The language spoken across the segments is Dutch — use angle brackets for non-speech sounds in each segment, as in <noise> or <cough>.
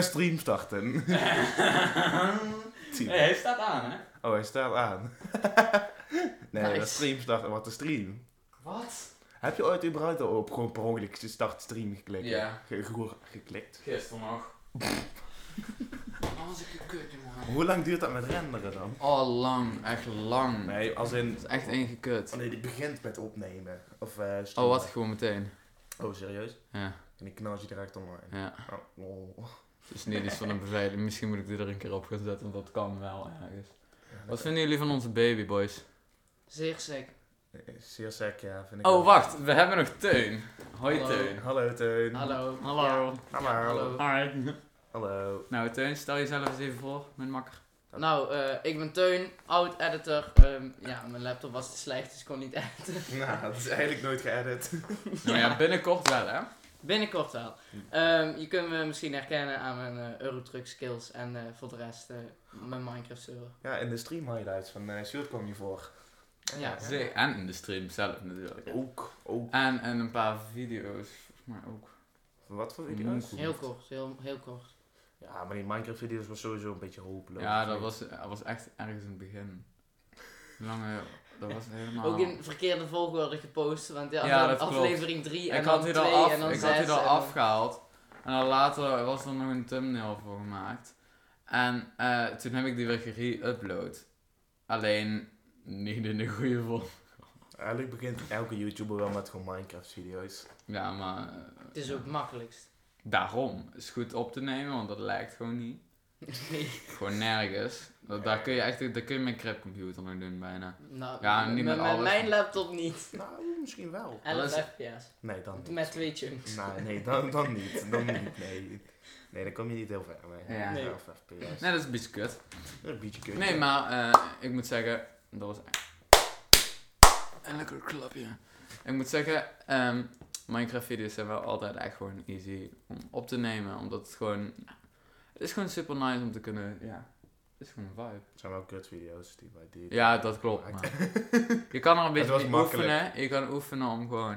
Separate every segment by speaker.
Speaker 1: Stream starten.
Speaker 2: <laughs> hey, hij staat aan, hè?
Speaker 1: Oh, hij staat aan. <laughs> nee,
Speaker 2: Nice.
Speaker 1: dat stream starten. Wat een stream.
Speaker 2: Wat?
Speaker 1: Heb je ooit überhaupt al op gewoon per ongeluk start stream geklikt?
Speaker 2: Ja.
Speaker 1: Ge- ge- geklikt.
Speaker 2: Gisteren nog. Oh, was ik een kut, jongen.
Speaker 1: Hoe lang duurt dat met renderen dan?
Speaker 2: Oh, lang. Echt lang.
Speaker 1: Nee, als in...
Speaker 2: Hmm. Dat is echt één gekut.
Speaker 1: Oh nee, die begint met opnemen. Of eh
Speaker 2: Oh,
Speaker 1: streamen.
Speaker 2: wat? Gewoon meteen.
Speaker 1: Oh, serieus?
Speaker 2: Ja,
Speaker 1: En die knal je direct online.
Speaker 2: ja.
Speaker 1: Oh, lol.
Speaker 2: Het is niet iets van een beveiliging. Misschien moet ik dit er een keer op gaan zetten, want dat kan wel ergens. <laughs> Wat vinden jullie van onze babyboys?
Speaker 3: Zeer sick.
Speaker 1: Eh, Zeer sec, ja, vind ik
Speaker 2: Oh,
Speaker 1: wel.
Speaker 2: wacht. We hebben nog Teun. Hoi
Speaker 3: Hallo.
Speaker 2: Teun.
Speaker 1: Hallo, Teun.
Speaker 3: Hallo.
Speaker 2: Hallo.
Speaker 1: Hallo. Hallo.
Speaker 3: Hallo.
Speaker 2: Hi.
Speaker 1: Hallo.
Speaker 2: Nou Teun, stel jezelf eens even voor, mijn makker.
Speaker 3: Ja. Nou, eh, ik ben Teun, oud-editor. Ehm, ja, mijn laptop was te slecht, dus ik kon niet <laughs> editen.
Speaker 1: Nou, <laughs> dat is eigenlijk nooit geëdit.
Speaker 2: Nou ja, binnenkort wel hè.
Speaker 3: Binnenkort wel. Ehm, je kunt me misschien herkennen aan mijn eh, Eurotruck skills en eh, voor de rest eh, mijn Minecraft server.
Speaker 1: Ja, in de stream highlights van eh Sjoerd kwam je voor.
Speaker 3: Ja.
Speaker 2: Zee- En in de stream zelf natuurlijk.
Speaker 1: Ook, ook.
Speaker 2: En, en een paar video's, volgens mij ook.
Speaker 1: Wat voor video's?
Speaker 2: Moe.
Speaker 3: Heel kort, heel, heel kort.
Speaker 1: Ja, maar die Minecraft video's was sowieso een beetje hopeloos.
Speaker 2: Ja, dat was, dat was echt ergens in het begin. Lange, dat was helemaal...
Speaker 3: Ook in verkeerde volgorde gepost, want ja,
Speaker 2: Ah. Ja,
Speaker 3: dan
Speaker 2: dat klopt.
Speaker 3: aflevering 3 en
Speaker 2: ik
Speaker 3: dan
Speaker 2: had die
Speaker 3: 2
Speaker 2: al af,
Speaker 3: en dan
Speaker 2: ik
Speaker 3: 6.
Speaker 2: had die al afgehaald. En dan later was er nog een thumbnail voor gemaakt. En eh, toen heb ik die weer gere-upload. Alleen niet in de goede vorm.
Speaker 1: Eigenlijk begint elke YouTuber wel met gewoon Minecraft video's.
Speaker 2: Ja, maar... eh,
Speaker 3: Het is ook het makkelijkst. <laughs>
Speaker 2: Daarom. Is goed op te nemen, want dat lijkt gewoon niet.
Speaker 3: Nee.
Speaker 2: Gewoon nergens. Dat, daar kun je echt, daar kun je mijn crapcomputer nog doen bijna.
Speaker 3: Nou,
Speaker 2: Ja, niet met alles.
Speaker 3: mijn laptop niet.
Speaker 1: Nou, misschien wel.
Speaker 3: 11
Speaker 2: is-
Speaker 3: fps.
Speaker 1: Nee, dan niet.
Speaker 3: Met twee chunks.
Speaker 1: Nou, nee, dan, dan niet. Dan niet, nee. Nee, dan kom je niet heel ver mee.
Speaker 2: Ja.
Speaker 3: Nee.
Speaker 1: 11 FPS.
Speaker 2: Nee, dat is een beetje kut.
Speaker 1: Een beetje kut.
Speaker 2: Nee, maar eh, ik moet zeggen, dat was een lekker klapje. Ik moet zeggen, ehm, Minecraft-video's zijn wel altijd echt gewoon easy om op te nemen, omdat het gewoon, het is gewoon super nice om te kunnen, ja, het is gewoon een vibe.
Speaker 1: Het zijn wel kut video's die wij die.
Speaker 2: Ja, dat
Speaker 1: <laughs>
Speaker 2: klopt. Maar. Je kan er een beetje
Speaker 1: was
Speaker 2: mee
Speaker 1: makkelijk.
Speaker 2: oefenen, je kan oefenen om gewoon,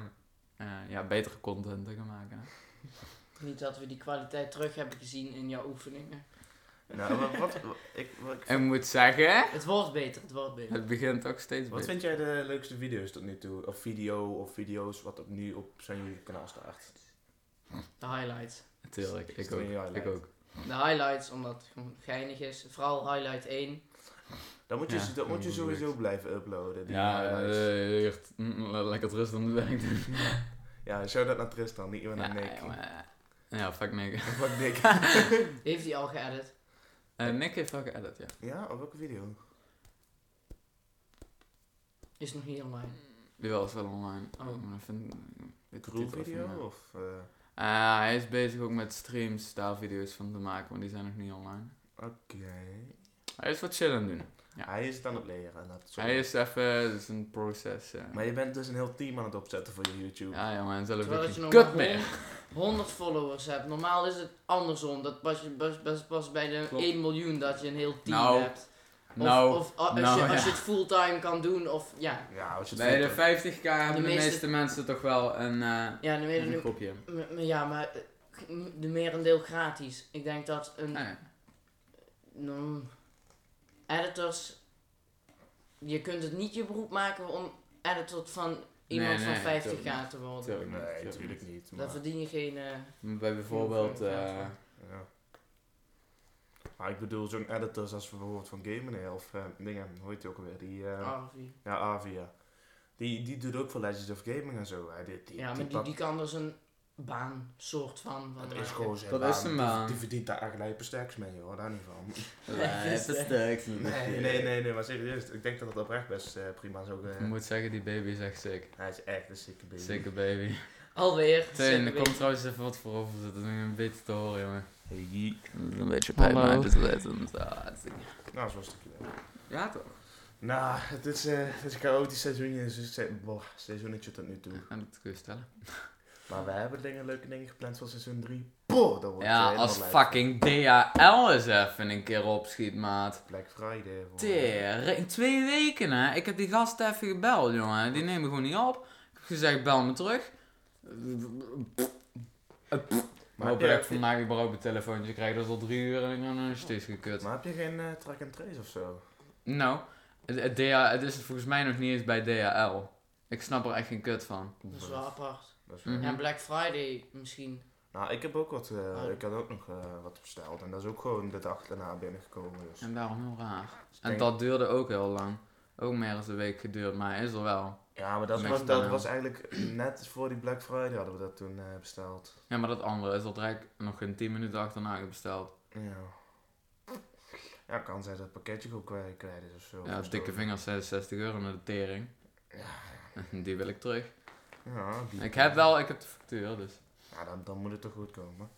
Speaker 2: eh, ja, betere content te gaan maken. hè.
Speaker 3: Niet dat we die kwaliteit terug hebben gezien in jouw oefeningen.
Speaker 1: Nou, wat, wat, wat- ik, wat, ik-
Speaker 2: Ik moet zeggen,
Speaker 3: Het wordt beter, het wordt beter.
Speaker 2: het begint ook steeds
Speaker 1: wat
Speaker 2: beter.
Speaker 1: vind jij de leukste video's tot nu toe? Of video of video's wat op nu op zijn jullie kanaal staat?
Speaker 3: De highlights.
Speaker 2: Natuurlijk, ik
Speaker 1: Stream
Speaker 2: ook, ik
Speaker 1: highlight.
Speaker 2: ook.
Speaker 3: De highlights, omdat het gewoon geinig is. Vooral highlight 1.
Speaker 1: Dan moet je,
Speaker 2: Ja,
Speaker 1: dan moet je
Speaker 2: dat moet
Speaker 1: sowieso
Speaker 2: lukt.
Speaker 1: blijven uploaden. Die
Speaker 2: Ja,
Speaker 1: highlights.
Speaker 2: eh, echt, mm, lekker rust om de werk doen.
Speaker 1: ja, shout-out naar Tristan, niet even
Speaker 2: Ja,
Speaker 1: naar Nick.
Speaker 2: jongen. Ja, fuck Nick.
Speaker 1: <laughs> Fuck Nick.
Speaker 2: <laughs>
Speaker 3: Heeft hij al geëdit?
Speaker 2: Eh, Nick heeft wel geëdit, ja.
Speaker 1: ja, op welke video?
Speaker 3: Is nog niet online.
Speaker 2: Die wel is wel online.
Speaker 3: Oh.
Speaker 2: Maar dat vind ik- weet de
Speaker 1: Crew
Speaker 2: titel even niet
Speaker 1: video?
Speaker 2: meer.
Speaker 1: Of, eh,
Speaker 2: Eh, hij is bezig ook met streams daar video's van te maken, want die zijn nog niet online.
Speaker 1: Oké.
Speaker 2: Hij is wat chill aan het doen. Ja.
Speaker 1: Hij is het aan het leren. Dat is
Speaker 2: Hij is even, het is een proces. eh.
Speaker 1: Maar je bent dus een heel team aan het opzetten voor je YouTube.
Speaker 2: Ja, jongen, en zelf
Speaker 3: Terwijl
Speaker 2: ook
Speaker 3: dat je
Speaker 2: geen
Speaker 3: nog
Speaker 2: kut
Speaker 3: maar
Speaker 2: meer.
Speaker 3: 100 followers hebt. Normaal is het andersom. Dat pas, je- pas, pas, pas bij de
Speaker 2: Klopt.
Speaker 3: 1 miljoen dat je een heel team
Speaker 2: Nou,
Speaker 3: hebt. Of,
Speaker 2: Nou,
Speaker 3: of a- als,
Speaker 2: nou,
Speaker 3: je, als
Speaker 2: ja.
Speaker 3: je het fulltime kan doen, of ja.
Speaker 1: Ja, als je het
Speaker 2: bij de
Speaker 1: vindt,
Speaker 2: 50k hebben de
Speaker 3: meeste-
Speaker 2: meeste mensen toch wel een, eh,
Speaker 3: Ja, dan weet je
Speaker 2: een
Speaker 3: nu.
Speaker 2: groepje.
Speaker 3: m- m- Ja, maar eh, de merendeel gratis. Ik denk dat een
Speaker 2: Ah, ja.
Speaker 3: Mm, editors. Je kunt het niet je beroep maken om editor van iemand
Speaker 2: Nee,
Speaker 3: van
Speaker 2: nee,
Speaker 3: 50
Speaker 2: natuurlijk
Speaker 3: jaar te worden.
Speaker 2: Tuurlijk niet,
Speaker 1: Nee,
Speaker 2: tuurlijk
Speaker 1: natuurlijk
Speaker 2: niet.
Speaker 1: niet.
Speaker 3: Daar
Speaker 1: Maar,
Speaker 3: verdien je geen. eh,
Speaker 2: Bij bijvoorbeeld...
Speaker 3: <laughs>
Speaker 2: eh,
Speaker 1: ja. maar ik bedoel, zo'n editors als bijvoorbeeld van Gamen of eh, dingen, hoe heet die ook alweer? Die, eh,
Speaker 3: RV.
Speaker 1: Ja, Avia. Die, die doet ook voor Legends of Gaming en zo. Hè. Die, die,
Speaker 3: Ja, maar die,
Speaker 1: pakt-
Speaker 3: die kan er zijn baan, soort van. van eh,
Speaker 1: Dat is
Speaker 3: maken.
Speaker 1: gewoon zijn
Speaker 2: Dat
Speaker 1: baan.
Speaker 2: is eh. zijn baan.
Speaker 1: Die, die verdient daar eigenlijk lijpe stacks mee, hoor. Daar niet van.
Speaker 2: Lijf is sterk.
Speaker 1: Nee, nee, nee, nee, maar serieus. Ik denk dat het oprecht best eh, prima is. Ook, eh,
Speaker 2: Ik moet zeggen, die baby is echt sick.
Speaker 1: hij is echt een sikke baby.
Speaker 2: Sicker baby.
Speaker 3: Alweer.
Speaker 2: Teun,
Speaker 3: zeker
Speaker 2: er
Speaker 3: weten.
Speaker 2: komt trouwens even wat voor over zitten. Dat is een beetje te horen, jongen.
Speaker 1: Hey.
Speaker 2: Een beetje
Speaker 3: pijn, maar het
Speaker 2: is lettend.
Speaker 1: Nou, zo'n stukje wel.
Speaker 2: Ja, toch?
Speaker 1: Nou, het is, eh, het is een chaotisch seizoenje, het is een se- boah, seizoenetje tot nu toe.
Speaker 2: En dat kun je stellen.
Speaker 1: Maar we hebben dingen, leuke dingen gepland voor seizoen 3. Boah, dat wordt eh,
Speaker 2: Ja,
Speaker 1: helemaal
Speaker 2: als
Speaker 1: lijp.
Speaker 2: fucking DHL eens even een keer opschiet, maat.
Speaker 1: Black Friday. hoor.
Speaker 2: Teer, in twee weken, hè. Ik heb die gast even gebeld, jongen. Die nemen gewoon niet op. Ik heb gezegd, bel me terug. Maar
Speaker 1: Maar
Speaker 2: hoop
Speaker 1: heb, je,
Speaker 2: ik vandaag überhaupt mijn telefoontje krijg. Dat is al drie uur en ik heb nog steeds gekut.
Speaker 1: maar heb je geen eh, track and trace of zo?
Speaker 2: Nou, het, het, DHL, het is volgens mij nog niet eens bij DHL. Ik snap er echt geen kut van.
Speaker 3: Dat is wel apart.
Speaker 1: Dat is wel-
Speaker 2: Mhm.
Speaker 3: Ja, Black Friday misschien.
Speaker 1: Nou, ik heb ook wat. eh,
Speaker 3: Oh.
Speaker 1: Ik had ook nog eh, wat besteld. En dat is ook gewoon de dag daarna binnengekomen. Dus.
Speaker 2: En daarom heel raar.
Speaker 1: Dus ik
Speaker 2: En
Speaker 1: denk-
Speaker 2: dat duurde ook heel lang. Ook meer dan een week geduurd, maar hij is er wel.
Speaker 1: Ja, maar dat
Speaker 2: Niks
Speaker 1: was, dat
Speaker 2: daarna.
Speaker 1: was eigenlijk <clears throat> net voor die Black Friday hadden we dat toen eh, besteld.
Speaker 2: Ja, maar dat andere is al direct nog geen 10 minuten achterna besteld.
Speaker 1: Ja. Ja, kan zijn dat het pakketje gewoon kwijt, kwijt is of zo.
Speaker 2: Ja,
Speaker 1: Of zo.
Speaker 2: dikke vingers 66 euro naar de tering. <laughs> Die wil ik terug.
Speaker 1: Ja, die-
Speaker 2: Ik heb wel, ik heb de factuur,
Speaker 1: <laughs>
Speaker 2: dus.
Speaker 1: Ja, dan, dan moet het toch goed komen.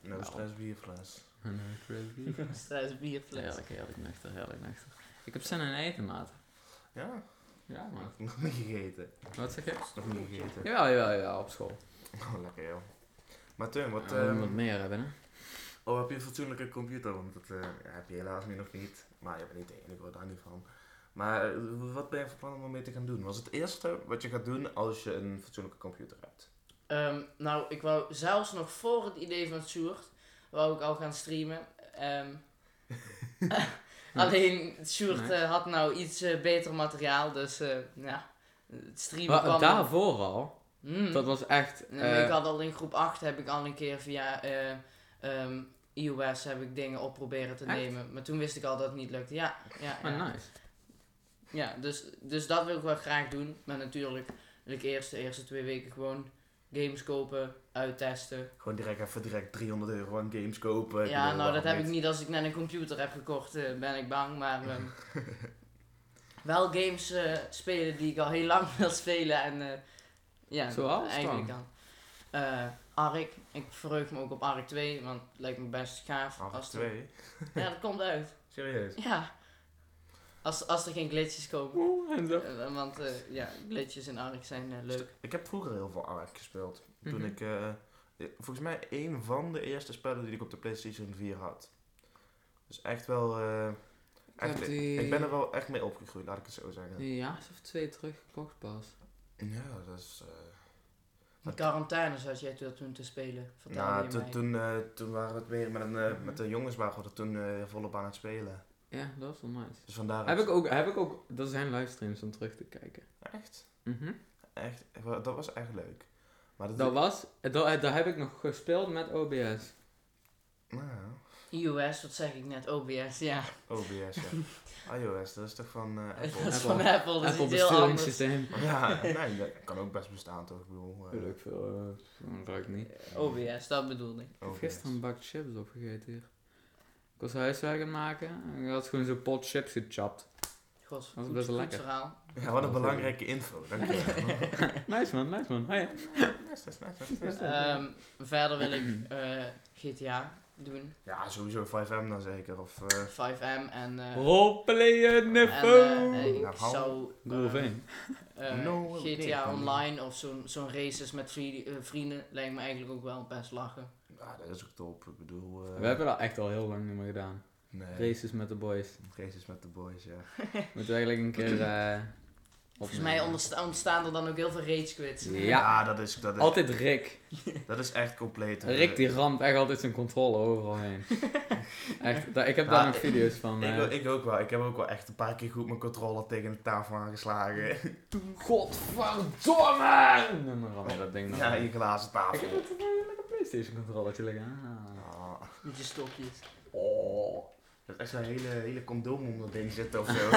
Speaker 1: No
Speaker 2: Wel.
Speaker 1: stress bierfles.
Speaker 3: Strijd bierfles.
Speaker 2: Heerlijk, heerlijk nuchter, heerlijk nuchter. Ik heb zin in eten, maat.
Speaker 1: Ja,
Speaker 2: Ja, man.
Speaker 1: nog- nog niet gegeten.
Speaker 2: Wat zeg je?
Speaker 1: Nog niet gegeten.
Speaker 2: Jawel, jawel, jawel, op school.
Speaker 1: <laughs> Oh, lekker joh. Maar Teun,
Speaker 2: Ja,
Speaker 1: wat,
Speaker 2: we moeten
Speaker 1: ehm,
Speaker 2: wat meer hebben, hè?
Speaker 1: oh, heb je een fatsoenlijke computer? Want dat eh, heb je helaas nu nog niet. Maar je bent niet de enige, ik hoor daar niet van. Maar eh, wat ben je van plan om ermee te gaan doen? Wat is het eerste wat je gaat doen als je een fatsoenlijke computer hebt?
Speaker 3: Ehm, nou, ik wou zelfs nog voor het idee van Sjoerd, wou ik al gaan streamen. Ehm, <laughs> alleen Sjoerd
Speaker 2: Nee.
Speaker 3: eh, had nou iets eh, beter materiaal, dus eh, ja, het streamen
Speaker 2: Maar
Speaker 3: kwam...
Speaker 2: daarvoor al,
Speaker 3: Hmm.
Speaker 2: dat was echt...
Speaker 3: Nee,
Speaker 2: eh,
Speaker 3: maar ik had al in groep 8 heb ik al een keer via eh, ehm, iOS heb ik dingen op proberen te
Speaker 2: Echt?
Speaker 3: nemen. Maar toen wist ik al dat het niet lukte. Ja, ja, ja.
Speaker 2: maar nice.
Speaker 3: ja dus, dus dat wil ik wel graag doen. Maar natuurlijk wil ik eerst de eerste twee weken gewoon games kopen, uittesten.
Speaker 1: Gewoon direct even direct 300 euro aan games kopen. Ik
Speaker 3: ja,
Speaker 1: bedoel,
Speaker 3: nou dat
Speaker 1: waarom
Speaker 3: heb ik niet als ik net een computer heb gekocht, eh, ben ik bang. Maar ehm, <laughs> wel games eh, spelen die ik al heel lang <laughs> wil spelen. En eh, ja,
Speaker 2: Zoals
Speaker 3: eigenlijk
Speaker 2: dan?
Speaker 3: dan. Eh, Ark. Ik verheug me ook op Ark 2, want het lijkt me best gaaf.
Speaker 1: Half
Speaker 3: als er-
Speaker 1: twee.
Speaker 3: <laughs> Ja, dat komt uit.
Speaker 1: Serieus?
Speaker 3: Ja. Als, als er geen glitches komen.
Speaker 2: Oeh, en zo.
Speaker 3: Eh, want eh, ja, glitches in Ark zijn eh, leuk.
Speaker 1: Ik heb vroeger heel veel Ark gespeeld. Toen
Speaker 2: Mhm.
Speaker 1: ik, eh, eh, volgens mij, een van de eerste spellen die ik op de PlayStation 4 had. Dus echt wel. eh, echt,
Speaker 2: heb die-
Speaker 1: Ik ben er wel echt mee opgegroeid, laat ik het zo zeggen.
Speaker 2: Een jaar of twee teruggekocht pas.
Speaker 1: Ja, dat is. eh,
Speaker 3: In quarantaine zat jij dat toen te spelen. Vertelde
Speaker 1: nou,
Speaker 3: je
Speaker 1: toen-
Speaker 3: mij.
Speaker 1: toen, eh, toen waren we het weer met, een, eh,
Speaker 2: Mhm.
Speaker 1: met de jongens, waren we er toen eh, volop aan het spelen.
Speaker 2: Ja, dat was wel nice.
Speaker 1: Dus vandaar.
Speaker 2: Heb
Speaker 1: het-
Speaker 2: ik ook, heb ik ook, dat zijn livestreams om terug te kijken.
Speaker 1: Echt?
Speaker 2: Mhm.
Speaker 1: Echt? Dat was echt leuk. Maar dat.
Speaker 2: Dat was, dat, dat heb ik nog gespeeld met OBS.
Speaker 1: Nou,
Speaker 3: iOS, wat zeg ik net? OBS, ja. <laughs>
Speaker 1: OBS,
Speaker 2: <laughs>
Speaker 1: ja. iOS, dat is toch van eh,
Speaker 3: <laughs> Dat is
Speaker 1: Apple?
Speaker 3: van Apple, dat is
Speaker 2: Apple
Speaker 3: iets heel anders.
Speaker 2: besturingssysteem.
Speaker 1: ja, nee, dat kan ook best bestaan toch? Ik bedoel, eh,
Speaker 2: Weet ik veel, eh, dat ruikt niet.
Speaker 3: OBS, dat bedoelde ik.
Speaker 2: Ik heb
Speaker 1: OBS.
Speaker 2: gisteren een bak chips opgegeten hier. Ik was huiswerk aan het maken en ik had gewoon zo'n pot chips
Speaker 3: <laughs>
Speaker 2: gechapt.
Speaker 3: God,
Speaker 2: Dat is
Speaker 3: goed-
Speaker 2: best wel
Speaker 3: goed
Speaker 2: lekker.
Speaker 3: verhaal.
Speaker 1: Ja, wat een belangrijke info. Dankjewel.
Speaker 2: nice man, nice man. Hoi.
Speaker 3: Ehm, verder wil
Speaker 2: <clears throat>
Speaker 3: ik eh, GTA doen.
Speaker 1: ja, sowieso 5M dan zeker. Of, eh,
Speaker 3: 5M en...
Speaker 2: Oh,
Speaker 3: eh,
Speaker 2: Roleplay in
Speaker 3: en,
Speaker 2: the
Speaker 3: eh,
Speaker 2: phone.
Speaker 3: ik
Speaker 1: Nou, hou-
Speaker 3: zou...
Speaker 2: Doe of
Speaker 3: ehm,
Speaker 2: één.
Speaker 3: eh,
Speaker 1: No, oké,
Speaker 3: GTA
Speaker 1: dan-
Speaker 3: Online of zo'n zo'n races met vri- eh, vrienden lijkt me eigenlijk ook wel best lachen.
Speaker 1: ja, dat is ook top. Ik bedoel... eh,
Speaker 2: We hebben dat echt al heel lang niet meer gedaan.
Speaker 1: nee,
Speaker 2: Races met de boys.
Speaker 1: races met de boys, ja.
Speaker 2: Moeten we eigenlijk een
Speaker 1: <clears throat>
Speaker 2: keer. eh
Speaker 3: Volgens mij
Speaker 2: opnemen.
Speaker 3: ondersta- ontstaan er dan ook heel veel rage quits. eh,
Speaker 2: Ja.
Speaker 1: dat, is, dat, is,
Speaker 2: Altijd Rick.
Speaker 1: dat is echt compleet. eh,
Speaker 2: Rick die ramt echt altijd zijn controle overal
Speaker 3: <laughs>
Speaker 2: heen. Echt, daar- ik heb
Speaker 1: Ja,
Speaker 2: daar nog
Speaker 1: ik-
Speaker 2: video's van.
Speaker 1: Ik,
Speaker 2: eh.
Speaker 1: ook- ik ook wel. Ik heb ook wel echt een paar keer goed mijn controller tegen de tafel aangeslagen.
Speaker 2: Godverdomme! Noem maar allemaal dat ding nog.
Speaker 1: Ja, je glazen
Speaker 2: Ik
Speaker 1: tafel.
Speaker 2: heb het een lekker PlayStation controllertje liggen. Ah.
Speaker 1: Ah,
Speaker 3: Met je stokjes.
Speaker 1: oh. Dat is echt zo'n hele, hele condoom om dat ding zitten of <laughs> zo.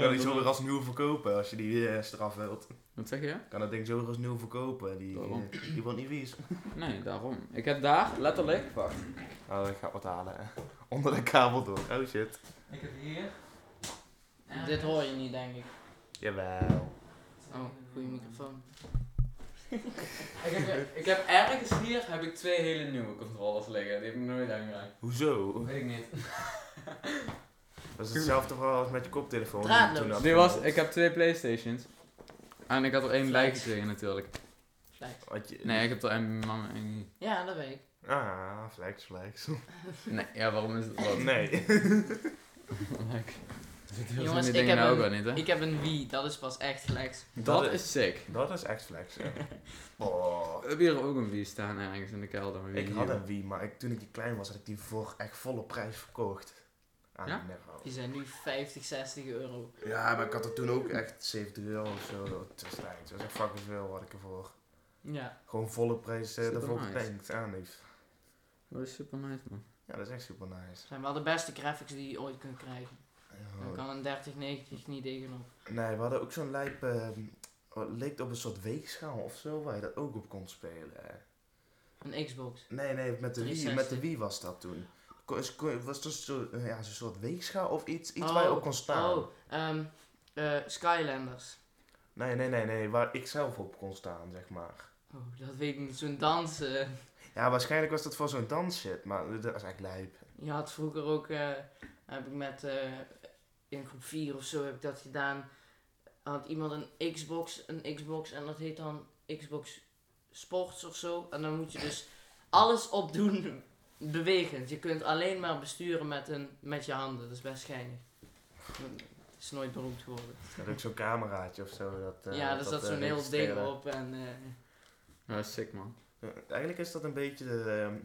Speaker 1: kan die zo weer als nieuw verkopen als je die eh, straf wilt.
Speaker 2: Wat zeg je?
Speaker 1: Kan dat ding zo weer als nieuw verkopen. Die, eh,
Speaker 2: Daarom.
Speaker 1: die, die wordt niet vies.
Speaker 2: Nee, daarom. Ik heb daar letterlijk. Wacht.
Speaker 1: Oh, ik ga wat halen. hè. Onder de kabel door. Oh shit.
Speaker 2: Ik heb hier.
Speaker 3: Dit hoor je niet, denk ik.
Speaker 1: Jawel.
Speaker 3: Oh, goede microfoon.
Speaker 2: Ik heb, ik heb ergens hier heb ik twee hele nieuwe controllers liggen. Die heb ik nooit aangeraakt.
Speaker 1: Hoezo?
Speaker 2: Weet ik niet.
Speaker 1: Dat is hetzelfde verhaal als met je koptelefoon. die je
Speaker 3: Draadloos.
Speaker 1: toen had
Speaker 2: Dit was,
Speaker 1: gehaald.
Speaker 2: ik heb twee Playstations. En ik had er één
Speaker 3: Flex.
Speaker 2: bij gekregen natuurlijk.
Speaker 3: Flex.
Speaker 1: Had je...
Speaker 2: Nee, ik heb er één mama één niet.
Speaker 3: Ja, dat weet ik.
Speaker 1: Ah, flex, flex.
Speaker 2: Nee, ja, waarom is het wat?
Speaker 1: nee.
Speaker 2: Like,
Speaker 3: Jongens, ik
Speaker 2: ik
Speaker 3: heb
Speaker 2: nou ook
Speaker 3: een-
Speaker 2: wel niet, hè?
Speaker 3: Ik heb een Wii, dat is pas echt flex.
Speaker 2: dat is sick.
Speaker 1: Dat is echt flex, ja. Oh.
Speaker 2: We hebben hier ook een Wii staan ergens in de kelder. maar wie
Speaker 1: Ik had
Speaker 2: hier?
Speaker 1: een Wii, maar ik, toen ik die klein was, had ik die voor echt volle prijs verkocht. Aan
Speaker 2: Ja?
Speaker 1: ja? Nervo.
Speaker 3: Die zijn nu 50, 60 euro.
Speaker 1: Ja, maar ik had er toen ook echt 70 euro of zo destijds. Dat is echt fucking veel wat ik ervoor.
Speaker 3: Ja.
Speaker 1: Gewoon volle prijs
Speaker 2: Super
Speaker 1: eh ervoor
Speaker 2: nice.
Speaker 1: getankt aan heeft.
Speaker 2: Dat is super nice, man.
Speaker 1: Ja, dat is echt super nice.
Speaker 3: Zijn wel de beste graphics die je ooit kunt krijgen. Dan
Speaker 1: Ja.
Speaker 3: kan een 3090 niet tegenop.
Speaker 1: Nee, we hadden ook zo'n lijp. ehm, wat leek op een soort weegschaal of zo, waar je dat ook op kon spelen.
Speaker 3: Een Xbox.
Speaker 1: Nee, nee, met de Wii,
Speaker 3: 360.
Speaker 1: met de Wii was dat toen. Ko- is- ko- was dus zo, ja, zo'n soort weegschaal of iets, iets
Speaker 3: Oh,
Speaker 1: waar je op kon staan.
Speaker 3: Oh, ehm, eh, Skylanders.
Speaker 1: Nee, nee, nee, nee, waar ik zelf op kon staan, zeg maar.
Speaker 3: Oh, dat weet ik niet. Zo'n dansen.
Speaker 1: Ja, waarschijnlijk was dat voor zo'n dansshit, maar dat was echt lijp.
Speaker 3: Je had vroeger ook, eh, heb ik met, eh, in groep 4 of zo heb ik dat gedaan. Had iemand een Xbox, een Xbox en dat heet dan Xbox Sports of zo. En dan moet je dus alles opdoen <laughs> bewegend. Je kunt alleen maar besturen met, een, met je handen. Dat is best geinig. Het is nooit beroemd geworden.
Speaker 1: Dat ook zo'n cameraatje of zo. Dat, eh,
Speaker 3: ja, er zat
Speaker 1: eh,
Speaker 3: zo'n heel ding
Speaker 1: registreren.
Speaker 3: op en eh,
Speaker 2: Ja, dat is sick, man.
Speaker 1: Ja, Eigenlijk is dat een beetje de... ehm,